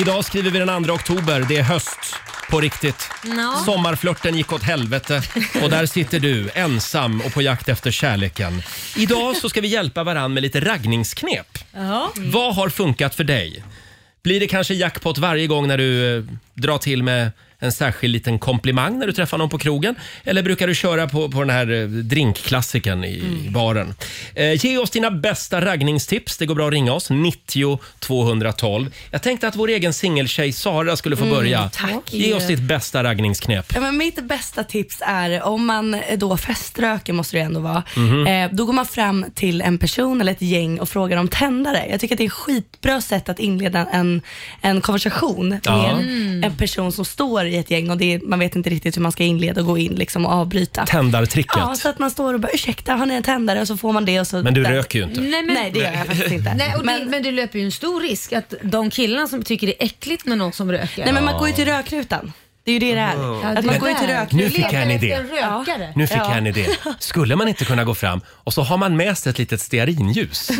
Idag skriver vi den 2 oktober. Det är höst på riktigt. Ja. Sommarflörten gick åt helvete och där sitter du ensam och på jakt efter kärleken. Idag så ska vi hjälpa varann med lite raggningsknep. Ja. Mm. Vad har funkat för dig? Blir det kanske jackpot varje gång när du eh, drar till med en särskild liten komplimang när du träffar någon på krogen? Eller brukar du köra på, på den här eh, drinkklassiken i i Mm. baren? Eh, ge oss dina bästa raggningstips. Det går bra att ringa oss. 90 212. Jag tänkte att vår egen singeltjej Sara skulle få Mm, börja. tack. Ge oss ditt bästa raggningsknep. Ja, men mitt bästa tips är om man då feströker, måste det ändå vara, Mhm. eh, då går man fram till en person eller ett gäng och frågar om tändare. Jag tycker att det är ett skitbra sätt att inleda en, en konversation med Ja. en, en person som står i ett gäng och det är, man vet inte riktigt hur man ska inleda och gå in liksom och avbryta. Tändartricket. Ja, så att man står och bara ursäkta, har ni en tändare? Och så får man det och så Men du där. röker ju inte. Nej, men, Nej, det gör jag faktiskt inte. Nej, och men, det, men du löper ju en stor risk att de killarna som tycker det är äckligt med någon som röker. Nej, men man går ju till rökrutan. Det är ju det det är. Ja, Att det man är går ju till där. rökrutan. Nu fick jag en idé. En rökare. Nu fick Ja. jag en idé. Skulle man inte kunna gå fram och så har man med sig ett litet stearinljus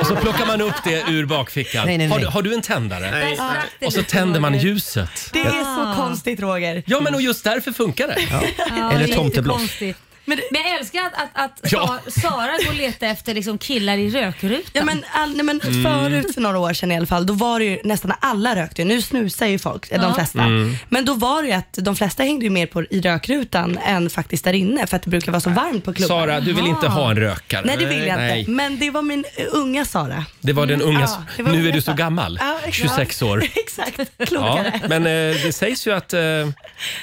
och så plockar man upp det ur bakfickan. Nej, nej, nej. Har, du, har du en tändare? Nej. Där sprack det Och så lite, tänder man Roger. ljuset. Det är så konstigt Roger. Ja, men och just därför funkar det. Ja, det är tomteblås. jättekonstigt. Men, jag älskar att, att, att Ja. Sa- Sara går och letar efter liksom killar i rökrutan. Ja, men, all, nej, men Mm. Förut för några år sedan i alla fall, då var det ju nästan alla rökte. ju. Nu snusar ju folk, eh, Ja. de flesta. Mm. Men då var det ju att de flesta hängde ju mer på i rökrutan än faktiskt där inne för att det brukar vara så varmt på klubben. Sara, du vill inte ha en rökare. Nej, det vill jag Nej. inte. Men det var min eh, unga Sara. Det var den unga... Ja, det var nu unga är du så Sara. gammal. Ja, exakt. 26 år. Exakt, Ja, klokare. men eh, det sägs ju att, eh,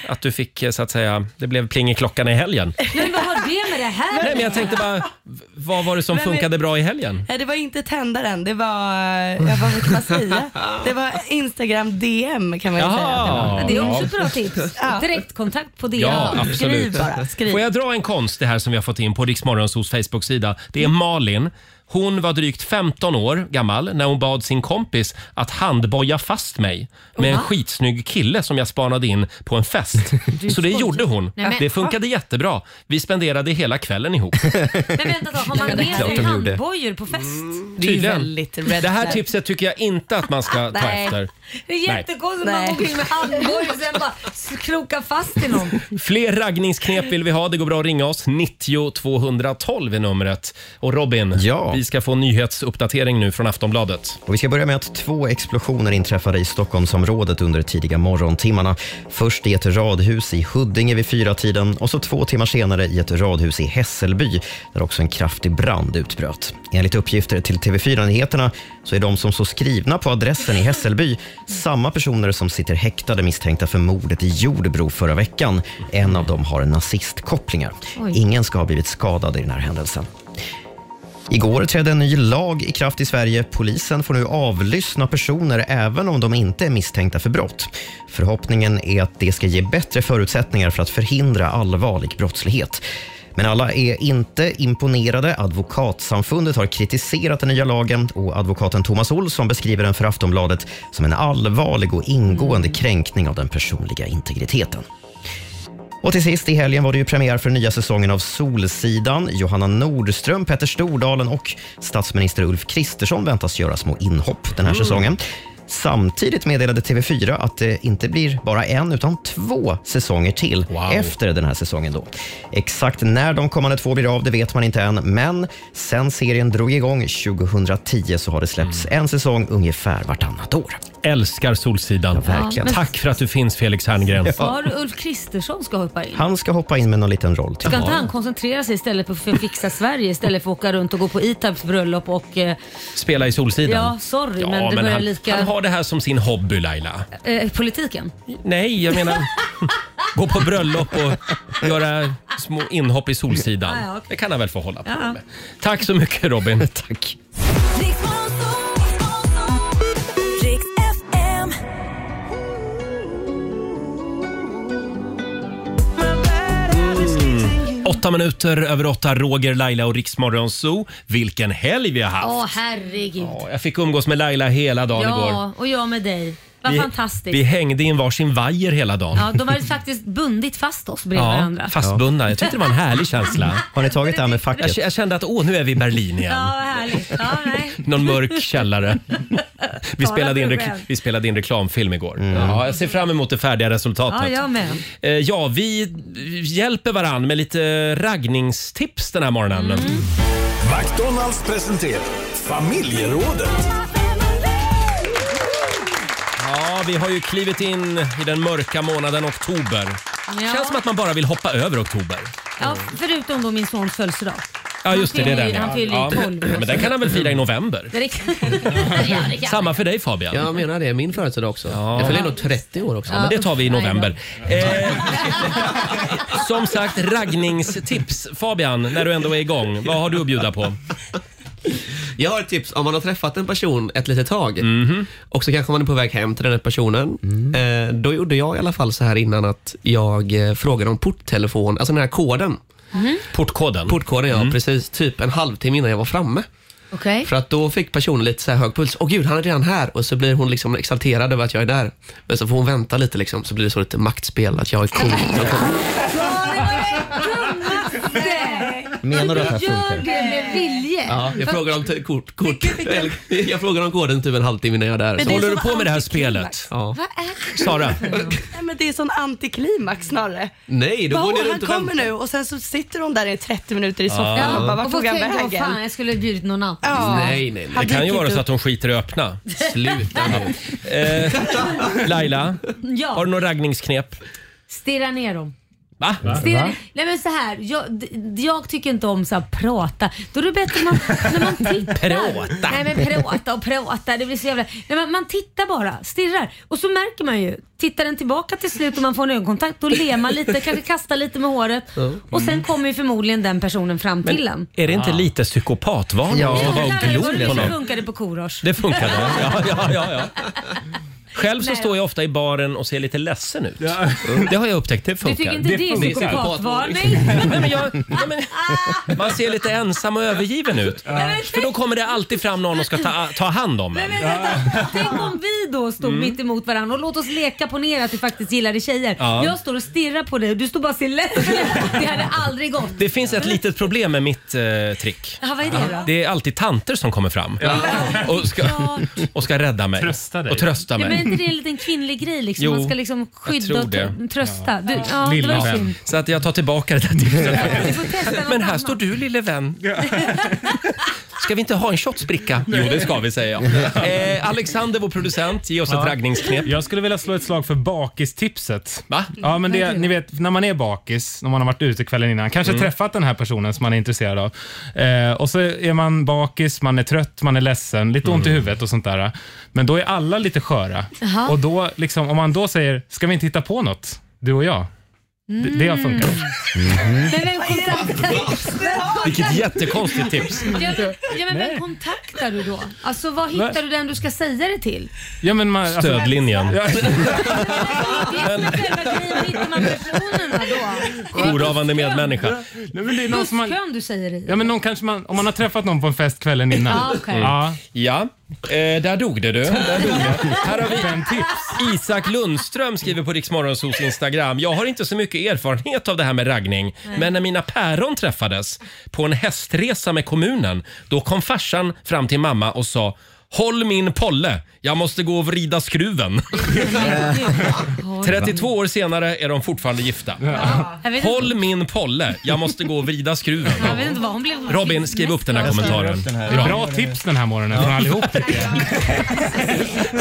att du fick, eh, så att säga, det blev pling i klockan i helgen. Men vad har det med det här Nej, men jag tänkte bara, vad var det som Men vi- funkade bra i helgen? Nej, det var inte tändaren, det var, ja, vad kan man säga? Det var Instagram DM kan man ju Jaha. säga. att var. Ja, det är också ett bra tips. Direktkontakt på DM. Ja, absolut. Skriv bara, skriv. Får jag dra en konst det här som vi har fått in på Riksmorgonsos Facebook-sida? Det är Malin. Hon var drygt 15 år gammal när hon bad sin kompis att handboja fast mig med en Va? skitsnygg kille som jag spanade in på en fest. Så det gjorde hon. Nej, men- Det funkade jättebra. Vi spenderade hela kvällen ihop. Men vänta då, har man Det är med klart sig de gjorde. handbojor på fest? Mm. Det är ju Tydligen. väldigt red Det här flag. tipset tycker jag inte att man ska ta Nej. efter. Det är Nej. jättekonstigt att man Nej. går omkring med handbojor och sen bara krokar fast i någon. Fler raggningsknep vill vi ha. Det går bra att ringa oss. 90 212 är numret. Och Robin, vi ska få en nyhetsuppdatering nu från Aftonbladet. Och vi ska börja med att två explosioner inträffade i Stockholmsområdet under tidiga morgontimmarna. Först i ett radhus i Huddinge vid fyratiden och så två timmar senare i ett radhus i Hässelby där också en kraftig brand utbröt. Enligt uppgifter till TV4 Nyheterna så är de som står skrivna på adressen i Hässelby samma personer som sitter häktade misstänkta för mordet i Jordbro förra veckan. En av dem har nazistkopplingar. Oj. Ingen ska ha blivit skadad i den här händelsen. Igår trädde en ny lag i kraft i Sverige. Polisen får nu avlyssna personer även om de inte är misstänkta för brott. Förhoppningen är att det ska ge bättre förutsättningar för att förhindra allvarlig brottslighet. Men alla är inte imponerade. Advokatsamfundet har kritiserat den nya lagen och advokaten Thomas Olsson beskriver den för Aftonbladet som en allvarlig och ingående kränkning av den personliga integriteten. Och till sist i helgen var det ju premiär för nya säsongen av Solsidan. Johanna Nordström, Petter Stordalen och statsminister Ulf Kristersson väntas göra små inhopp den här Mm. säsongen. Samtidigt meddelade TV4 att det inte blir bara en, utan två säsonger till efter den här säsongen. Då. Exakt när de kommande två blir av det vet man inte än, men sen serien drog igång 2010 så har det släppts en säsong ungefär vartannat år. Mm. Älskar Solsidan. Ja, verkligen. Ja, men- Tack för att du finns, Felix Herngren. Sa du Ulf Kristersson ska hoppa in? Han ska hoppa in med någon liten roll till. Ska inte han koncentrera sig istället på för att fixa Sverige istället för att åka runt och gå på E-Types bröllop och... Eh, Spela i Solsidan. ja, sorry men det börjar han, lika... han har det här som sin hobby, Laila. eh, politiken? Nej, jag menar... Gå på bröllop och göra små inhopp i Solsidan. Ah, Ja, ja, okej. Det kan han väl få hålla på Ja. med. Tack så mycket, Robin. Tack. Riks FM. Mm. Åtta minuter över åtta, Roger, Laila och Riksmorgon Zoo. Vilken helg vi har haft! Åh herregud. Ja, Jag fick umgås med Laila hela dagen igår. ja, och jag med dig. Vad Vi- fantastiskt. Vi hängde in varsin vajer hela dagen. Ja, de hade faktiskt bundit fast oss bredvid Ja, varandra. fastbundna. Jag tyckte det var en härlig känsla. Har ni tagit det här med Jag, k- jag kände att åh, nu är vi i Berlin igen. Ja, vad härligt. Ja, nej. Någon mörk källare. Vi Bara spelade, in problem. rekl- vi spelade in reklamfilm igår. Mm. Ja, jag ser fram emot det färdiga Ja, resultatet. jag med. Eh, Ja, vi hjälper varann med lite raggningstips den här morgonen. Mm. McDonalds presenterar Familjerådet. Ja, vi har ju klivit in i den mörka månaden oktober. Ja. Känns som att man bara vill hoppa över oktober. Ja, förutom då min sons födelsedag. Ja, just det. Han Det är fyller den. ju- Han fyller ju ja. 12 Ja. år. Men den kan han väl fira i november? Det kan- Ja, det kan- Samma för dig Fabian. Jag menar det, min födelsedag också. Jag fyller nog 30 år också. Ja, men det tar vi i november. Eh, som sagt, raggningstips. Fabian, när du ändå är igång, vad har du att bjuda på? Jag har ett tips. Om man har träffat en person ett litet tag Mhm. och så kanske man är på väg hem till den här personen. Mm. Eh, då gjorde jag i alla fall så här innan att jag eh, frågade om porttelefon, alltså den här koden. Mm. Portkoden? Mm. Portkoden, ja. Precis. Typ en halvtimme innan jag var framme. Eh. Okej. För att då fick personen lite så här hög puls. Åh gud, han är redan här. Och så blir hon liksom exalterad över att jag är där. Men så får hon vänta lite liksom. Så blir det så lite maktspel, att jag är cool. Ja, det var det dummaste! Menar du att det här Gör funkar? det med vilje. Ja, jag Fast- frågar om t- kort. kort. Eller, jag frågar om koden typ en halvtimme innan jag är där. Men Så det är som håller du på med det här antiklimax. spelet? Ja. Vad är det? Sara? Nej, men det är sån antiklimax snarare. Nej, då Bara, går ni "Åh, runt och Han kommer väntar." nu och sen så sitter hon där i 30 minuter i soffan Ja. och bara, Och vart folk tog han tänker, "Åh, vägen? fan, jag skulle ha bjudit någon annan. Nej, nej, nej. Det kan ju vara så att de skiter i att öppna. Sluta nu. Eh, Laila, Ja. har du några raggningsknep? Stirra ner dem. Va? Stirra ner. Nej men så här, jag, d- jag tycker inte om så här, prata. Då är det bättre man, när man tittar. Prata. Nej men prata och prata, det blir så jävla... Nej, man, man tittar bara, stirrar. Och så märker man ju, tittar den tillbaka till slut och man får en ögonkontakt, då ler man lite, kanske kastar lite med håret. Och sen kommer ju förmodligen den personen fram till en. Är det Ah. inte lite psykopatvarning Ja, att vara och Jävlar, glo vad på Det någon? funkade på Korosh. Det funkade. Ja, ja, ja, ja. Själv så Nej. står jag ofta i baren och ser lite ledsen ut. Det har jag upptäckt, det Du funkar. tycker inte det är psykopatvarning? Nej, men jag, nej, men, man ser lite ensam och övergiven ut. För då kommer det alltid fram någon och ska ta, ta hand om Nej, en. men vänta. Tänk om vi då stod mitt emot varandra och låt oss leka på ner att vi faktiskt gillade tjejer. Ja. Jag står och stirrar på dig och du står bara och ser ledsen ut. Det hade aldrig gått. Det finns ett litet problem med mitt eh, trick. Ja, vad är det då? Det är alltid tanter som kommer fram och, ska, och ska rädda mig. Och trösta Ja, men är mig. inte det en liten kvinnlig grej liksom? Jo, Man ska liksom skydda tror och tr- det. trösta. Du, ja, det var ju synd. Så att jag tar tillbaka det där tipset. Du får testa något Men här annat. står du lille vän. Ska vi inte ha en shotsbricka? Jo, det ska vi säga. Eh, Alexander, vår producent, ge oss ett raggningsknep. Jag skulle vilja slå ett slag för bakistipset. Va? Ja, men Vad är det, det? ni vet, när man är bakis, när man har varit ute kvällen innan, kanske Mm. träffat den här personen som man är intresserad av. Eh, och så är man bakis, man är trött, man är ledsen, lite ont i Mm. huvudet och sånt där. Men då är alla lite sköra. Jaha. Och då, liksom, om man då säger, ska vi inte hitta på något, du och jag? Det, det har funkat. Men vem kontaktar Mm. Vilket jättekonstigt tips. Ja, men- ja, men vem kontaktar du då? Alltså vad hittar du den du ska säga det till? Ja, men man, alltså- Stödlinjen. Ja. Jourhavande medmänniska. Nej, men det är någon som man, Busskön du säger det i. ja, men någon kanske man, om man har träffat någon på en fest kvällen innan. Ja, okej. ja. Ja, eh, där dog det du. Där dog det. Här 그 har vi Isak Lundström skriver på Riksmorgonsos Instagram. Jag har inte så mycket erfarenhet av det här med raggning, Nej. men när mina päron träffades på en hästresa med kommunen, då kom farsan fram till mamma och sa Håll min polle, jag måste gå och vrida skruven. 32 år senare är de fortfarande gifta. Jag vet Håll min polle, jag måste gå och vrida skruven. Jag vet inte vad hon blev. Robin, skriv upp den här Jag skriver kommentaren. upp den här. Det är bra tips den här morgonen från allihop.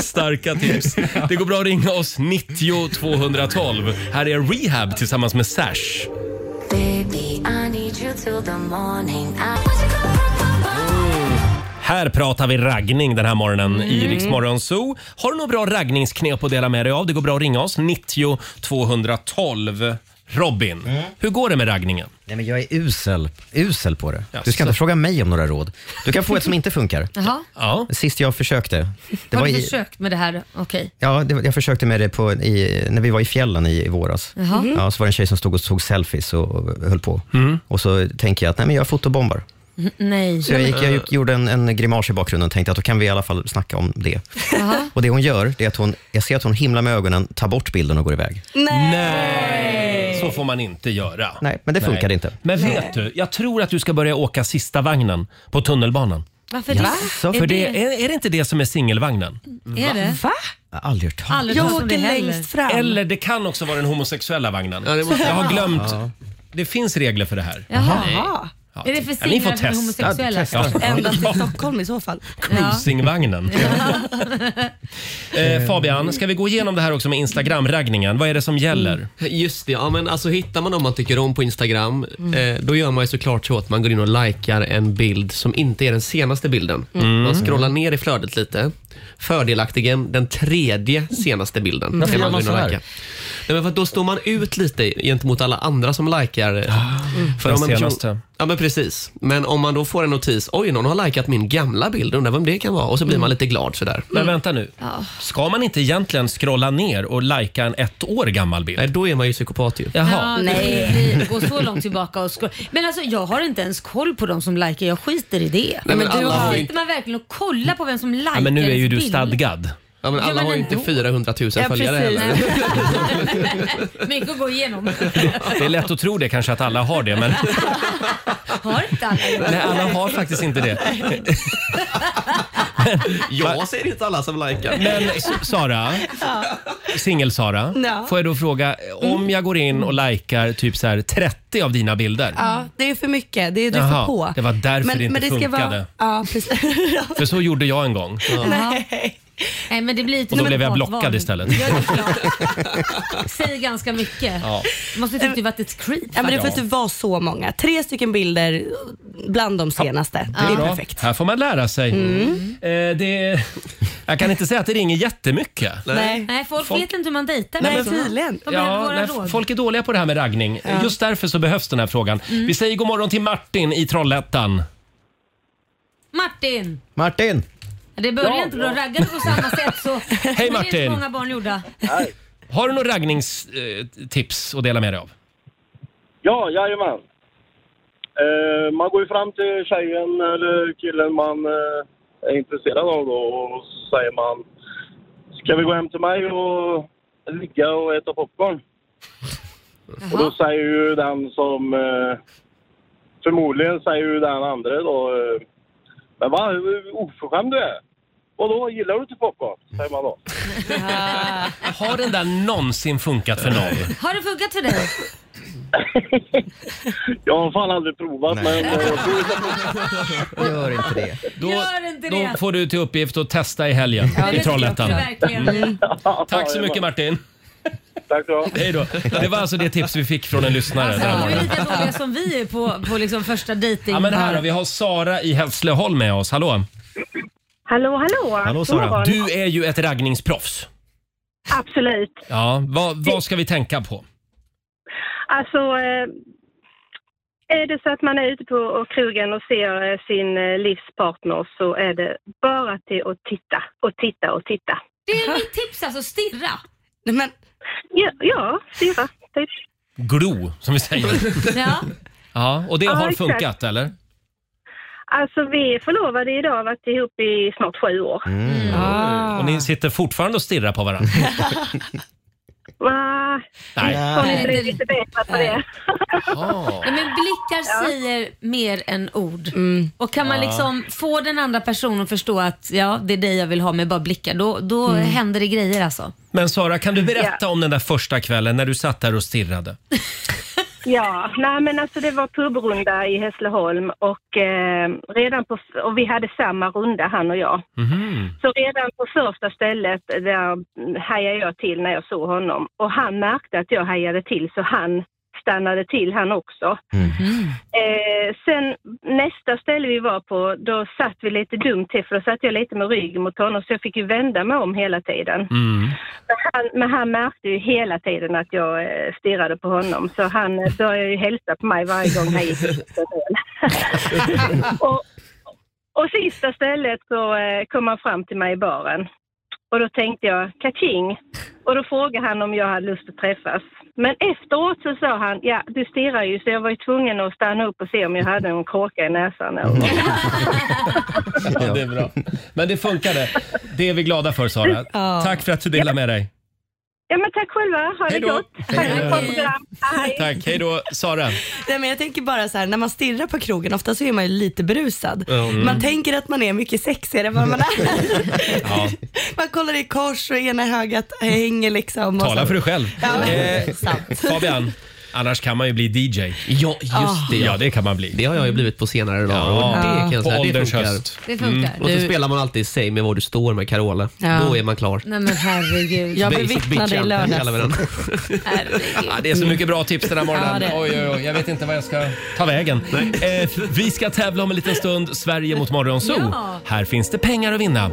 Starka tips. Det går bra att ringa oss 90 212. Här är Rehab tillsammans med Sash. Baby, I need you till the morning. I... Här pratar vi raggning den här morgonen i Rix Morgon Zoo. Har du några bra raggningsknep att dela med dig av? Det går bra att ringa oss 90 212. Robin, Mm. hur går det med raggningen? Nej, men jag är usel, usel på det. Du ska inte fråga mig om några råd. Du kan få ett som inte funkar. Jaha. Sist jag försökte. Det Har var du i, försökt med det här? Okej. ja, det, var- jag försökte med det på, i, när vi var i fjällen i, i våras. Mm. Jaha. Mhm. Ja, så var det en tjej som stod och tog selfies och, och höll på. Och så tänker jag att nej, men jag fotobombar. N- Nej. Så jag, gick, jag gick- gjorde en, en grimas i bakgrunden och tänkte att då kan vi i alla fall snacka om det. Jaha. Och det hon gör, det är att hon, jag ser att hon himlar med ögonen, tar bort bilden och går iväg. Nej. Så får man inte göra. Nej, men det Nej. funkade inte. Men vet du, jag tror att du ska börja åka sista vagnen på tunnelbanan. Varför det? Så, för det, är, är det inte det som är singelvagnen? Är det? Va? Jag har aldrig hört Aldrig hört om det heller. Eller det kan också vara den homosexuella vagnen. det måste- jag har glömt. Ja. Det finns regler för det här. Jaha. Nej. Ja. Är det för Ja, ni får singlar för testa. homosexuella? Testa. Ända till Stockholm i så fall. Husingvagnen. eh, Fabian, ska vi gå igenom det här också med Instagram-raggningen? Vad är det som gäller? Just det, ja, men alltså, hittar man någon man tycker om på Instagram Mm. eh, då gör man ju såklart så att man går in och likar en bild som inte är den senaste bilden. Mm. Man scrollar ner i flödet lite. Fördelaktigen den tredje senaste bilden. Varför kan gör gå man in och så här? likea. Nej, men för att då står man ut lite gentemot alla andra som likar. Mm. För Ah, Den om en person- senaste. Ja, men precis. Men om man då får en notis, oj, någon har likat min gamla bild, undrar vem det kan vara, och så blir man lite glad sådär. Mm. Mm. Men vänta nu. Ska man inte egentligen scrolla ner och lajka en ett år gammal bild? Nej, då är man ju psykopat ju. Jaha. Ja, nej. Vi går så långt tillbaka och scroll- Men alltså jag har inte ens koll på de som likar. Jag skiter i det. men du har ju Sitter man verkligen och kollar på vem som likar Ja, men nu är ju ens du bild? stadgad. Ja, men Ja, alla men har ju inte ändå. 400 000 följare heller. Mycket att gå igenom. Det är lätt att tro det kanske att alla har det, men Har inte alla gjort nej, det? alla har faktiskt inte det. Jag ser inte alla som likar. Men S- Sara, singel-Sara, Ja. Mm. får jag då fråga om jag går in och likar typ så här 30 av dina bilder? Ja, det är för mycket. Det är du Jaha, för på. det var därför det inte funkade. ja, precis. För så gjorde jag en gång. Nej. Nej, men det blir lite Och då som blev ett jag matval. blockad istället. Ja, det är klart. Säger ganska mycket. Ja. Måste tyckt du varit ett creep. Eh, Ja, men det får faktiskt. inte vara så många. Tre stycken bilder bland de senaste. Det är Bra. perfekt. Här får man lära sig. Mm. Eh, det, jag kan inte säga att det ringer jättemycket. Nej, folk, Folk- vet inte hur man dejtar. Nej, människorna. tydligen. De behöver Ja, våra nej, råd. folk är dåliga på det här med raggning. Ja. Just därför så behövs den här frågan. Mm. Vi säger god morgon till Martin i Trollhättan. Martin! Martin! Det börjar Ja, inte bra. ja. Raggade på samma sätt så... Hej, Men Det är Martin. inte många barn gjorda. Har du några raggningstips att dela med dig av? Ja, jajamän. Eh, man går ju fram till tjejen eller killen man eh, är intresserad av då och så säger man Ska vi gå hem till mig och ligga och äta popcorn? Och då säger ju den som eh, förmodligen säger ju den andra då eh, Men vad oförskämd du är! Och då gillar du inte popcorn? Säger man då. Har den där någonsin funkat för någon? Har det funkat för dig? Jag har fan aldrig provat men eh, jag tror Gör inte det. Då, Gör inte då det. får du till uppgift att testa i helgen Ja, det i tycker Trollhättan. jag också, verkligen. Mm. Tack så Ja, mycket Martin. Tack så Hej då. Det var alltså det tips vi fick från en lyssnare den här Du är morgonen. lika dåliga som vi är på, på liksom första dejting. Ja, men här då, vi har Sara i Hässleholm med oss. Hallå! Hallå, hallå! God Du morgon. är ju ett raggningsproffs. Absolut. Ja, vad, vad ska vi tänka på? Alltså, eh, är det så att man är ute på och krogen och ser eh, sin eh, livspartner så är det bara till att titta och titta och titta. Det är mitt tips alltså, stirra. Men... Ja, ja stirra. Typ. Glo, som vi säger. Ja. Ja, och det Ja, har exakt. funkat, eller? Alltså, vi är förlovade idag och har varit ihop i snart sju år. Mm. Ah. Ah. Och ni sitter fortfarande och stirrar på varandra? Va? Nej. Har ni blivit lite bättre på det? Ja, men blickar säger mer än ord. Mm. Och kan man Ja. liksom få den andra personen att förstå att ja, det är dig jag vill ha med bara blickar, då, då Mm. händer det grejer alltså. Men Sara, kan du berätta om den där första kvällen när du satt där och stirrade? Ja, nej men alltså det var pubrunda i Hässleholm och eh, redan på, och vi hade samma runda han och jag. Så redan på första stället där mm, hajade jag till när jag såg honom och han märkte att jag hajade till så han stannade till han också. Eh, sen nästa ställe vi var på, då satt vi lite dumt till för då satt jag lite med ryggen mot honom så jag fick ju vända mig om hela tiden. Men han, men han märkte ju hela tiden att jag eh, stirrade på honom så han eh, började ju hälsa på mig varje gång han gick ut. och, och sista stället så eh, kom han fram till mig i baren. Och då tänkte jag kaching. Och då frågade han om jag hade lust att träffas. Men efteråt så sa han, ja du stirrar ju så jag var ju tvungen att stanna upp och se om jag hade en kråka i näsan. eller något." Ja, det är bra. Men det funkade. Det är vi glada för, Sara. Ja. Tack för att du delade med dig. Ja men tack själva, ha det Hej då. gott! Tack för ett bra program. Hej. Tack. Hej då, Sara. Nej, men jag tänker bara så här, när man stirrar på krogen, ofta så är man ju lite berusad. Mm. Man tänker att man är mycket sexigare än vad man är. Ja, Man kollar i kors och ena högat hänger liksom. och tala så. för dig själv. Ja, men- Eh, sant. Fabian, annars kan man ju bli DJ. Ja, Ah. det, ja. Ja, det kan man bli. Det har jag ju blivit på senare dagar. och Ja. Det kan jag På säga, det ålderns funkar. höst. Mm. Det funkar. Och så Du- spelar man alltid Säg mig var du står med Carola. Ja. Då är man klar. Nej men herregud. Basic bitch jump, kallar vi den. Ja, det är så mycket bra tips den här Ja, morgonen. det är det. Oj, oj, oj, jag vet inte vad jag ska ta vägen. Eh, vi ska tävla om en liten stund. Sverige mot Morgonzoo. Ja. Här finns det pengar att vinna.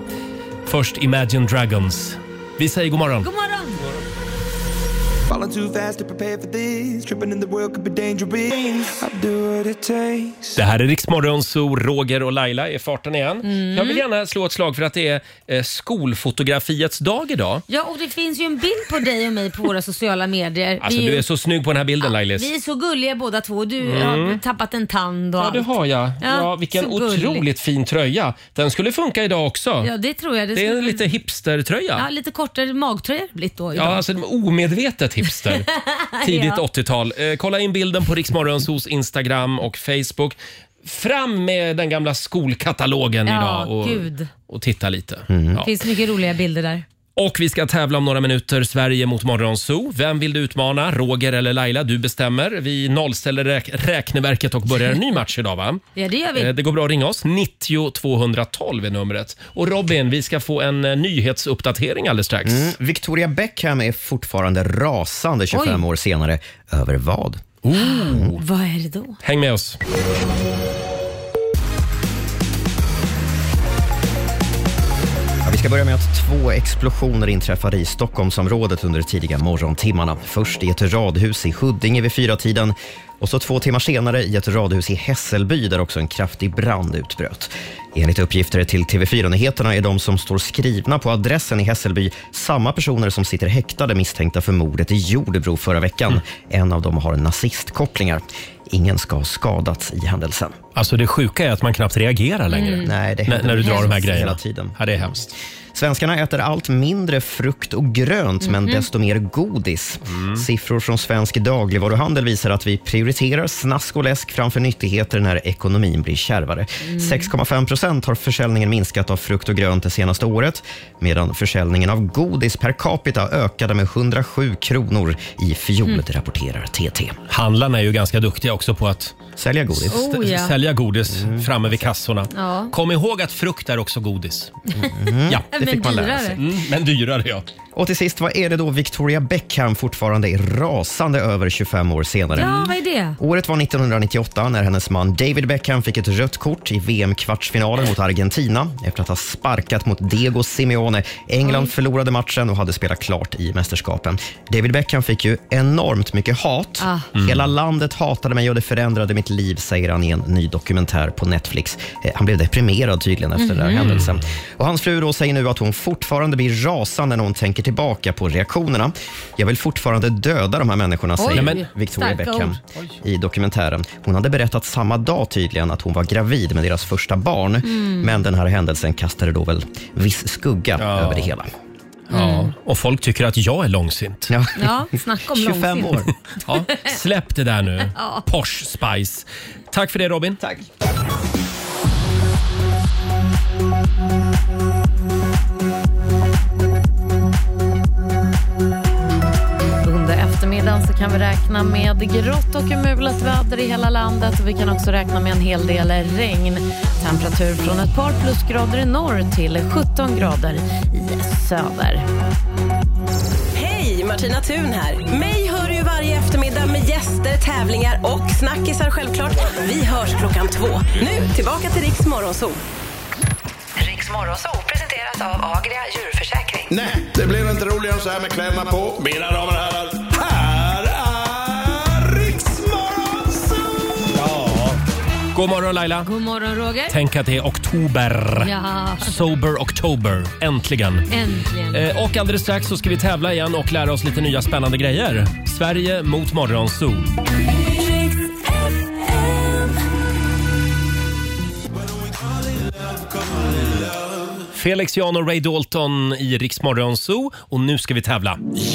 Först Imagine Dragons. Vi säger god morgon. God morgon! Falling too fast to prepare for this. Tripping in the world could be dangerous. I'll do what it takes. Det här är Riksmorgon, så Roger och Laila är i farten igen. Mm. Jag vill gärna slå ett slag för att det är eh, skolfotografiets dag idag. Ja, och det finns ju en bild på dig och mig på våra sociala medier. Alltså, vi, ju- du är så snygg på den här bilden Lailis. vi är så gulliga båda två. Du Mm. har tappat en tand och Ja, det allt. har jag. Ja, Ja, vilken så gullig. otroligt fin tröja. Den skulle funka idag också. Ja, det tror jag. Det, det är skulle- en lite hipstertröja. Ja, lite kortare magtröja har det blivit då Ja, idag. alltså en omedvetet hipster. Tidigt Ja. 80-tal. Eh, kolla in bilden på Riksmorgonsos Instagram och Facebook. Fram med den gamla skolkatalogen Ja, idag och, gud. och titta lite. Det Mm. Ja. finns mycket roliga bilder där. Och vi ska tävla om några minuter, Sverige mot Morgonzoo. Vem vill du utmana? Roger eller Laila? Du bestämmer. Vi nollställer räk räkneverket och börjar en ny match idag va? Ja, det gör vi. Eh, Det går bra att ringa oss. 90 212 är numret. Och Robin, vi ska få en eh, nyhetsuppdatering alldeles strax. Mm. Victoria Beckham är fortfarande rasande 25 Oj. år senare. Över vad? Vad är det då? Häng med oss. Ja, vi ska börja med att två explosioner inträffade i Stockholmsområdet under de tidiga morgontimmarna. Först i ett radhus i Huddinge vid fyratiden och så två timmar senare i ett radhus i Hässelby där också en kraftig brand utbröt. Enligt uppgifter till TV4 Nyheterna är de som står skrivna på adressen i Hässelby samma personer som sitter häktade misstänkta för mordet i Jordbro förra veckan. En av dem har nazistkopplingar. Ingen ska ha skadats i händelsen. Alltså det sjuka är att man knappt reagerar längre. Mm. Nej, det När- händer när du drar de här hemskt grejerna. Hela tiden. Ja, det är hemskt. Svenskarna äter allt mindre frukt och grönt, men Mhm. desto mer godis. Mm. Siffror från Svensk dagligvaruhandel visar att vi prioriterar snask och läsk framför nyttigheter när ekonomin blir kärvare. Mm. 6,5 procent har försäljningen minskat av frukt och grönt det senaste året, medan försäljningen av godis per capita ökade med 107 kronor i fjol, det rapporterar TT. Handlarna är ju ganska duktiga också på att sälja godis. Mm. St- Oh, ja. Sälja godis framme vid kassorna. Ja. Kom ihåg att frukt är också godis. Mm-hmm. Ja, Men det fick man lära sig. dyrare. Mm, men dyrare, ja. Och till sist, vad är det då Victoria Beckham fortfarande är rasande över 25 år senare? Ja, vad är det? Året var 1998 när hennes man David Beckham fick ett rött kort i VM-kvartsfinalen mot Argentina efter att ha sparkat mot Diego Simeone. England förlorade matchen och hade spelat klart i mästerskapen. David Beckham fick ju enormt mycket hat. Ah. Mm. Hela landet hatade mig och det förändrade mitt liv, säger han i en ny dokumentär på Netflix. Eh, Han blev deprimerad tydligen efter den här Mhm. händelsen. Och hans fru då säger nu att hon fortfarande blir rasande när hon tänker tillbaka på reaktionerna. Jag vill fortfarande döda de här människorna, Oj, säger men- Victoria starka Beckham ord. i dokumentären. Hon hade berättat samma dag tydligen att hon var gravid med deras första barn. Mm. Men den här händelsen kastade då väl viss skugga över det hela. Mm. Ja, och folk tycker att jag är långsint. Ja, Mm. Ja, snacka om 25 långsint. år. Ja, släpp det där nu. Ja. Posh Spice. Tack för det Robin. Tack. Under eftermiddagen så kan vi räkna med grått och mulet väder i hela landet. Vi kan också räkna med en hel del regn. Temperatur från ett par plusgrader i norr till 17 grader i söder. Hej, Martina Thun här. Mig hör du ju varje eftermiddag med gäster, tävlingar och snackisar självklart. Vi hörs klockan två. Nu tillbaka till Riks Morgonzoo. Riks Morgonzoo presenteras av Agria djurförsäkring. Nej, det blir inte roligare än så här med kläderna på. Mina damer och herrar, här är Riksmorgonzoo! Ja. God morgon Laila. God morgon Roger. Tänk att det är oktober. Ja, Sober October. Äntligen. äntligen. Eh, Och alldeles strax så ska vi tävla igen och lära oss lite nya spännande grejer. Sverige mot Morgonzoo. Felix Jan och Ray Dalton i Rix Morgonzoo och nu ska vi tävla.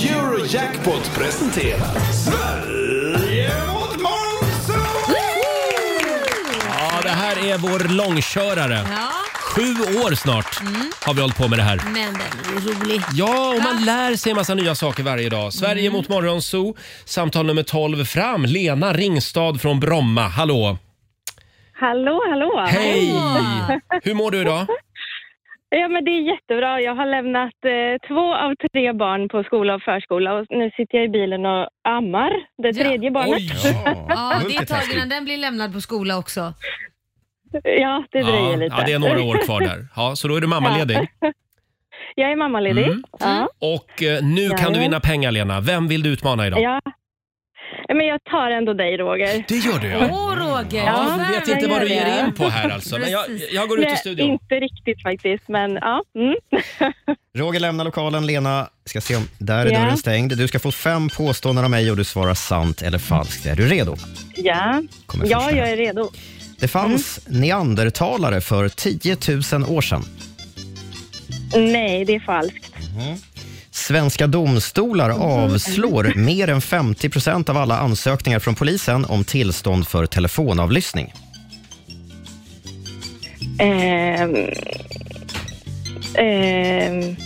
Eurojackpot presenterar Sverige mot Monzo! Ja, det här är vår långkörare. Ja. Sju år snart Mm. har vi hållit på med det här. Men den är ju rolig. Ja, och man lär sig en massa nya saker varje dag. Sverige Mm. mot Morgonzoo. Samtal nummer 12 fram. Lena Ringstad från Bromma. Hallå! Hallå, hallå! Hej! Hur mår du idag? Ja, men det är jättebra. Jag har lämnat eh, två av tre barn på skola och förskola och nu sitter jag i bilen och ammar det tredje barnet. Ja, det är taget innan den blir lämnad på skola också. ja, det dröjer ja, lite. ja, det är några år kvar där. Ja, så då är du mammaledig. Jag är mammaledig. Mm. Ja. Och eh, nu kan du Jajamän. vinna pengar Lena. Vem vill du utmana idag? ja. Men jag tar ändå dig Roger. Det gör du ja. Åh Roger! Ja, jag vet inte vad du ger dig in på här alltså. Men jag, jag går ut i studion. Inte riktigt faktiskt, men ja. Mm. Roger lämnar lokalen. Lena, ska se om... Där är Ja. dörren stängd. Du ska få fem påståenden av mig och du svarar sant eller falskt. Är du redo? Ja, Kommer först ja här. jag är redo. Det fanns neandertalare för 10 000 år sedan. Nej, det är falskt. Svenska domstolar avslår mer än 50 procent av alla ansökningar från polisen om tillstånd för telefonavlyssning. Ehm, ehm,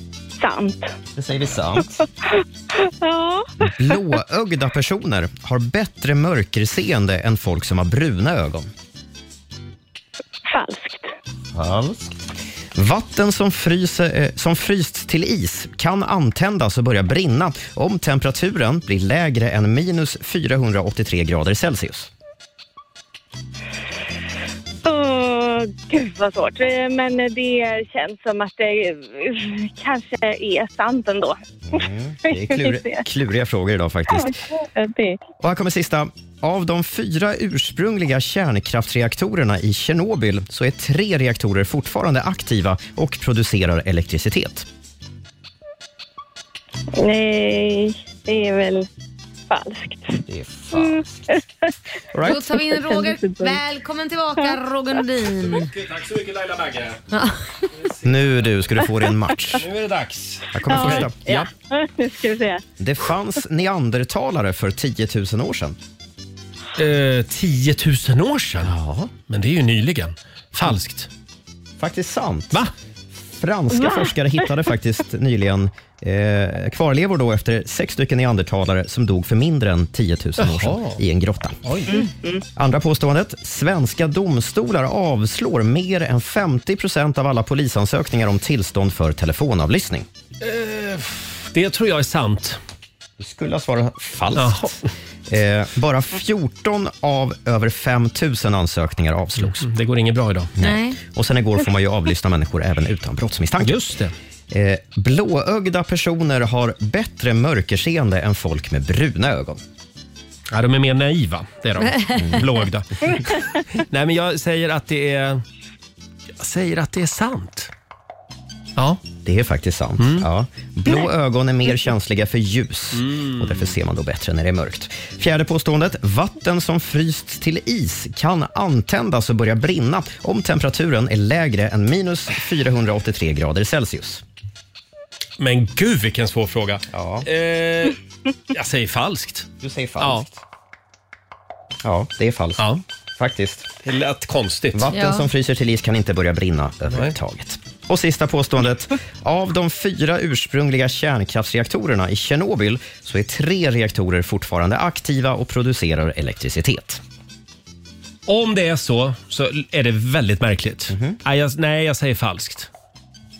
sant. Det säger vi sant. ja. Blåögda personer har bättre mörkerseende än folk som har bruna ögon. Falskt. Falskt. Vatten som, fryser, eh, som frysts till is kan antändas och börja brinna om temperaturen blir lägre än minus 483 grader Celsius. Åh, gud vad svårt. Eh, Men det känns som att det eh, kanske är sant ändå. Mm, Det är klur, kluriga frågor idag faktiskt. Det- Och här kommer sista. Av de fyra ursprungliga kärnkraftsreaktorerna i Tjernobyl så är tre reaktorer fortfarande aktiva och producerar elektricitet. Nej, det är väl falskt. Det är falskt. All Då tar vi in Roger. Välkommen tillbaka Roger Nordin. Tack så mycket Laila Bagge. Nu du, ska du få din match. Nu är det dags. Här kommer första. Ja. Nu ska vi se. Det fanns neandertalare för 10 000 år sedan. Eh, 10 000 år sedan? Ja. Men det är ju nyligen. Falskt. Faktiskt sant. Va? Franska Va? forskare hittade faktiskt nyligen eh, kvarlevor då efter sex stycken neandertalare som dog för mindre än 10 000 år sedan Jaha. i en grotta. Mm. Mm, Andra påståendet. Svenska domstolar avslår mer än 50 procent av alla polisansökningar om tillstånd för telefonavlyssning. Det tror jag är sant. Du skulle ha svarat falskt. Eh, bara 14 av över 5 000 ansökningar avslogs. Mm, det går inget bra idag. Nej. Och sen igår får man ju avlyssna människor även utan brottsmisstanke. Just det. Eh, blåögda personer har bättre mörkerseende än folk med bruna ögon. Ja, de är mer naiva, det är de. Blåögda. Nej, men jag säger att det är... Jag säger att det är sant. Ja. Det är faktiskt sant. Ja. Blå ögon är mer känsliga för ljus och därför ser man då bättre när det är mörkt. Fjärde påståendet. Vatten som frysts till is kan antändas och börja brinna om temperaturen är lägre än minus 483 grader Celsius. Men gud vilken svår fråga. Eh, jag säger falskt. Du säger falskt. Ja, det är falskt. Faktiskt. Det lät konstigt. Vatten Ja. som fryser till is kan inte börja brinna överhuvudtaget. Och sista påståendet. Av de fyra ursprungliga kärnkraftsreaktorerna i Tjernobyl så är tre reaktorer fortfarande aktiva och producerar elektricitet. Om det är så, så är det väldigt märkligt. Mhm. Nej, jag, nej, jag säger falskt.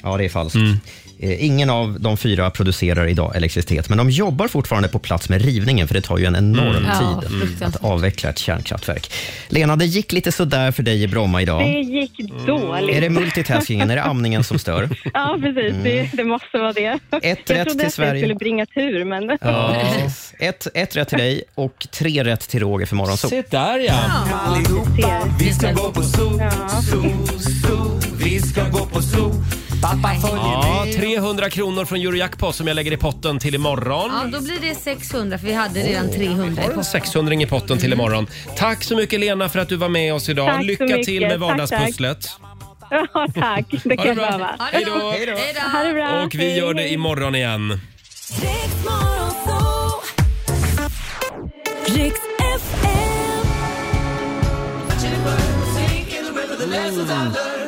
Ja, det är falskt. Eh, Ingen av de fyra producerar idag elektricitet, men de jobbar fortfarande på plats med rivningen, för det tar ju en enorm Mm. Ja, tid att fruktansvärt. avveckla ett kärnkraftverk. Lena, det gick lite sådär för dig i Bromma idag. Det gick dåligt. Är det multitaskingen, är det amningen som stör? Ja, precis. Mm. Det, det måste vara det. rätt jag till trodde att Sverige. det skulle bringa tur, men... Ja. Ett, ett rätt till dig och tre rätt till Roger för morgonsol. Se där ja! Allihopa, vi ska gå på zoo, zoo, zoo. Vi ska gå på zoo. Pappa Ja, följer med. 300 kronor från Eurojackpot som jag lägger i potten till imorgon. Ja, då blir det 600 för vi hade redan Åh, 300 i Har en potten. 600 i potten till imorgon. Tack så mycket Lena för att du var med oss idag. Tack så Lycka mycket. till med Tack, vardagspusslet. Ja, tack. Det kan jag bra. lova. Hej då. Hej då. Ha det bra. Och vi gör det imorgon igen. Riks FM.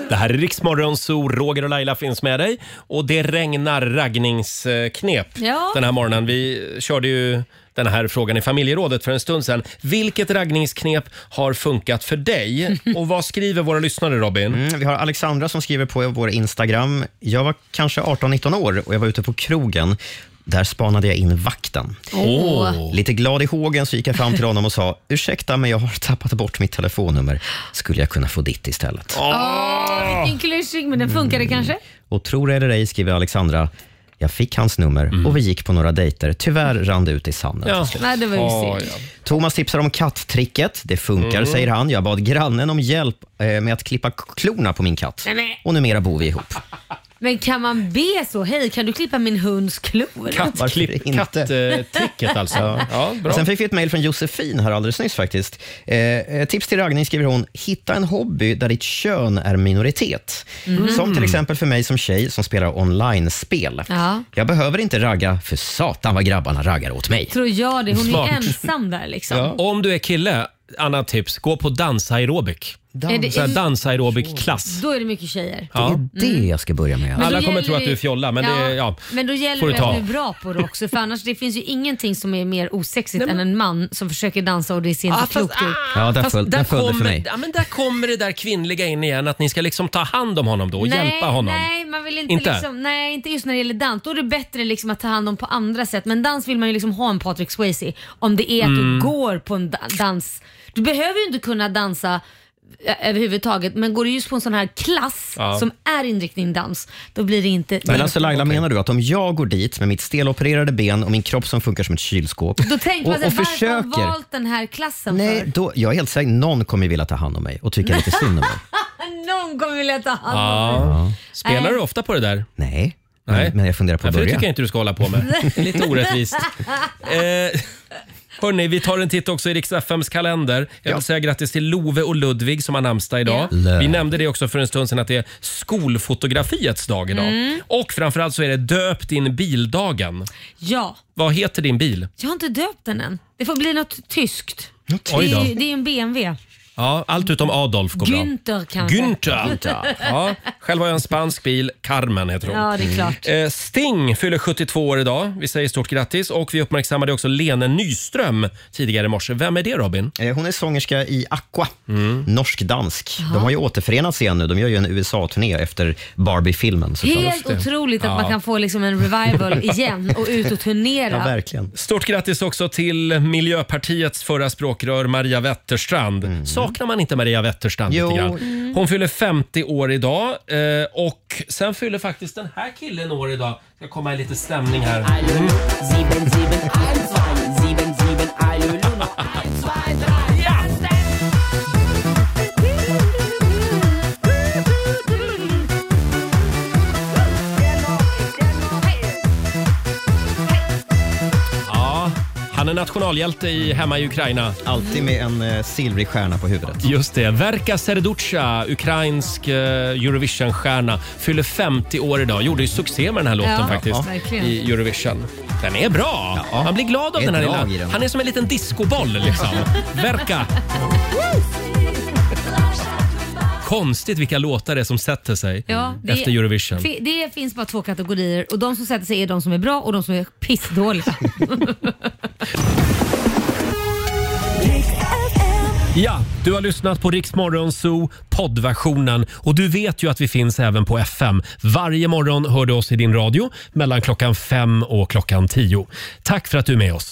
Det här är Riksmorgon Zoo. Roger och Laila finns med dig. Och det regnar raggningsknep Ja. den här morgonen. Vi körde ju den här frågan i familjerådet för en stund sedan. Vilket raggningsknep har funkat för dig? Och vad skriver våra lyssnare Robin? Mm, vi har Alexandra som skriver på vår Instagram. Jag var kanske 18-19 år och jag var ute på krogen. Där spanade jag in vakten. Åh. Lite glad i hågen så gick jag fram till honom och sa ursäkta, men jag har tappat bort mitt telefonnummer. Skulle jag kunna få ditt istället? Åh, vilken klyschig, men den Mm. funkade kanske? Och tror det eller ej, skriver Alexandra, jag fick hans nummer Mm. och vi gick på några dejter. Tyvärr rann det ut i sanden. till slut. Nej, det var ju synd. Thomas tipsar om katttricket. Det funkar, Mm. säger han. Jag bad grannen om hjälp eh, med att klippa k- klorna på min katt. Nej, nej. Och numera bor vi ihop. Men kan man be så? Hej, kan du klippa min hunds klor? Varför inte? Ja. Och Sen fick vi ett mejl från Josefin här alldeles nyss faktiskt. Eh, Eh, tips till Ragnhild skriver hon, hitta en hobby där ditt kön är minoritet. Mm. Som till exempel för mig som tjej som spelar online-spel. Jag behöver inte ragga, för satan vad grabbarna raggar åt mig. Tror jag det. Hon Smart. är ensam där liksom. Om du är kille, annat tips, gå på dansaerobik. Är det- Så här Dansaerobik-klass. Då är det mycket tjejer. Mm. det jag ska börja med. Men då Alla kommer gäller tro att det- du är fjolla, men det är, ja. Men då gäller får du det att ta. du är bra på det också för annars det finns ju ingenting som är mer osexigt än en man som försöker dansa och det Ah, ser inte klokt ut. Ja, där föll- där föll det för kommer, mig. Ja, men där kommer det där kvinnliga in igen, att ni ska liksom ta hand om honom då och nej, hjälpa honom. Nej, man vill inte, Inte? Liksom, nej, inte just när det gäller dans. Då är det bättre liksom att ta hand om på andra sätt. Men dans vill man ju liksom ha en Patrick Swayze om det är att Mm. du går på en da- dans. Du behöver ju inte kunna dansa eh, överhuvudtaget, men går du just på en sån här klass Ja. som är inriktning dans, då blir det inte... Men alltså Laila, menar du att om jag går dit med mitt stelopererade ben och min kropp som funkar som ett kylskåp då tänker man och, sig, och varför har försöker... jag valt den här klassen Nej, för? då, jag är helt säker någon kommer vilja ta hand om mig och tycka lite synd om mig. Någon kommer vilja ta hand om Ja. Spelar Nej. du ofta på det där? Nej. Nej. Men jag funderar på Ja, att för det börja. tycker jag inte du ska hålla på med. Det är Lite orättvist. Eh, hörni, vi tar en titt också i Riks-FMs kalender. Jag vill säga grattis till Love och Ludvig som har namnsdag idag. Ja. Lö. Vi nämnde det också för en stund sedan att det är skolfotografiets dag idag. Mm. Och framförallt så är det döp din bildagen. Ja, Vad heter din bil? jag har inte döpt den än. Det får bli något tyskt. Oj Det, då. är, ju- det är ju en BMW. Ja, allt utom Adolf går bra. Günther kanske. Günther. Ja, själv har jag en spansk bil. Carmen heter hon. Ja, det är klart. Eh, Sting fyller 72 år idag. Vi säger stort grattis. Och vi uppmärksammade också Lene Nyström tidigare i morse. Vem är det Robin? Eh, Hon är sångerska i Aqua, Mm. norsk-dansk. De har ju återförenats igen nu. De gör ju en USA-turné efter Barbie-filmen. såklart. Helt otroligt att man kan få liksom en revival igen och ut och turnera. Stort grattis också till Miljöpartiets förra språkrör Maria Wetterstrand. Saknar man inte Maria Wetterstrand Mm. Jo. lite grann? Mm. Hon fyller 50 år idag eh, och sen fyller faktiskt den här killen år idag. Ska komma i lite stämning här. Mm. Ja, han är nationalhjälte i, hemma i Ukraina. Alltid med en eh, silvrig stjärna på huvudet. Just det. Verka Serducha, ukrainsk eh, Eurovision-stjärna, fyller 50 år idag. Gjorde ju succé med den här låten Ja, ja, faktiskt verkligen. i Eurovision. Den är bra! Man blir glad av Det är den här drag i lilla. den. Han är som en liten discoboll liksom. Verka! Konstigt vilka låtar det är som sätter sig Ja, det, efter Eurovision. fi- Det finns bara två kategorier och de som sätter sig är de som är bra och de som är pissdåliga. Ja, du har lyssnat på Rix Morgon Zoo poddversionen och du vet ju att vi finns även på FM. Varje morgon hör du oss i din radio mellan klockan fem och klockan tio. Tack för att du är med oss.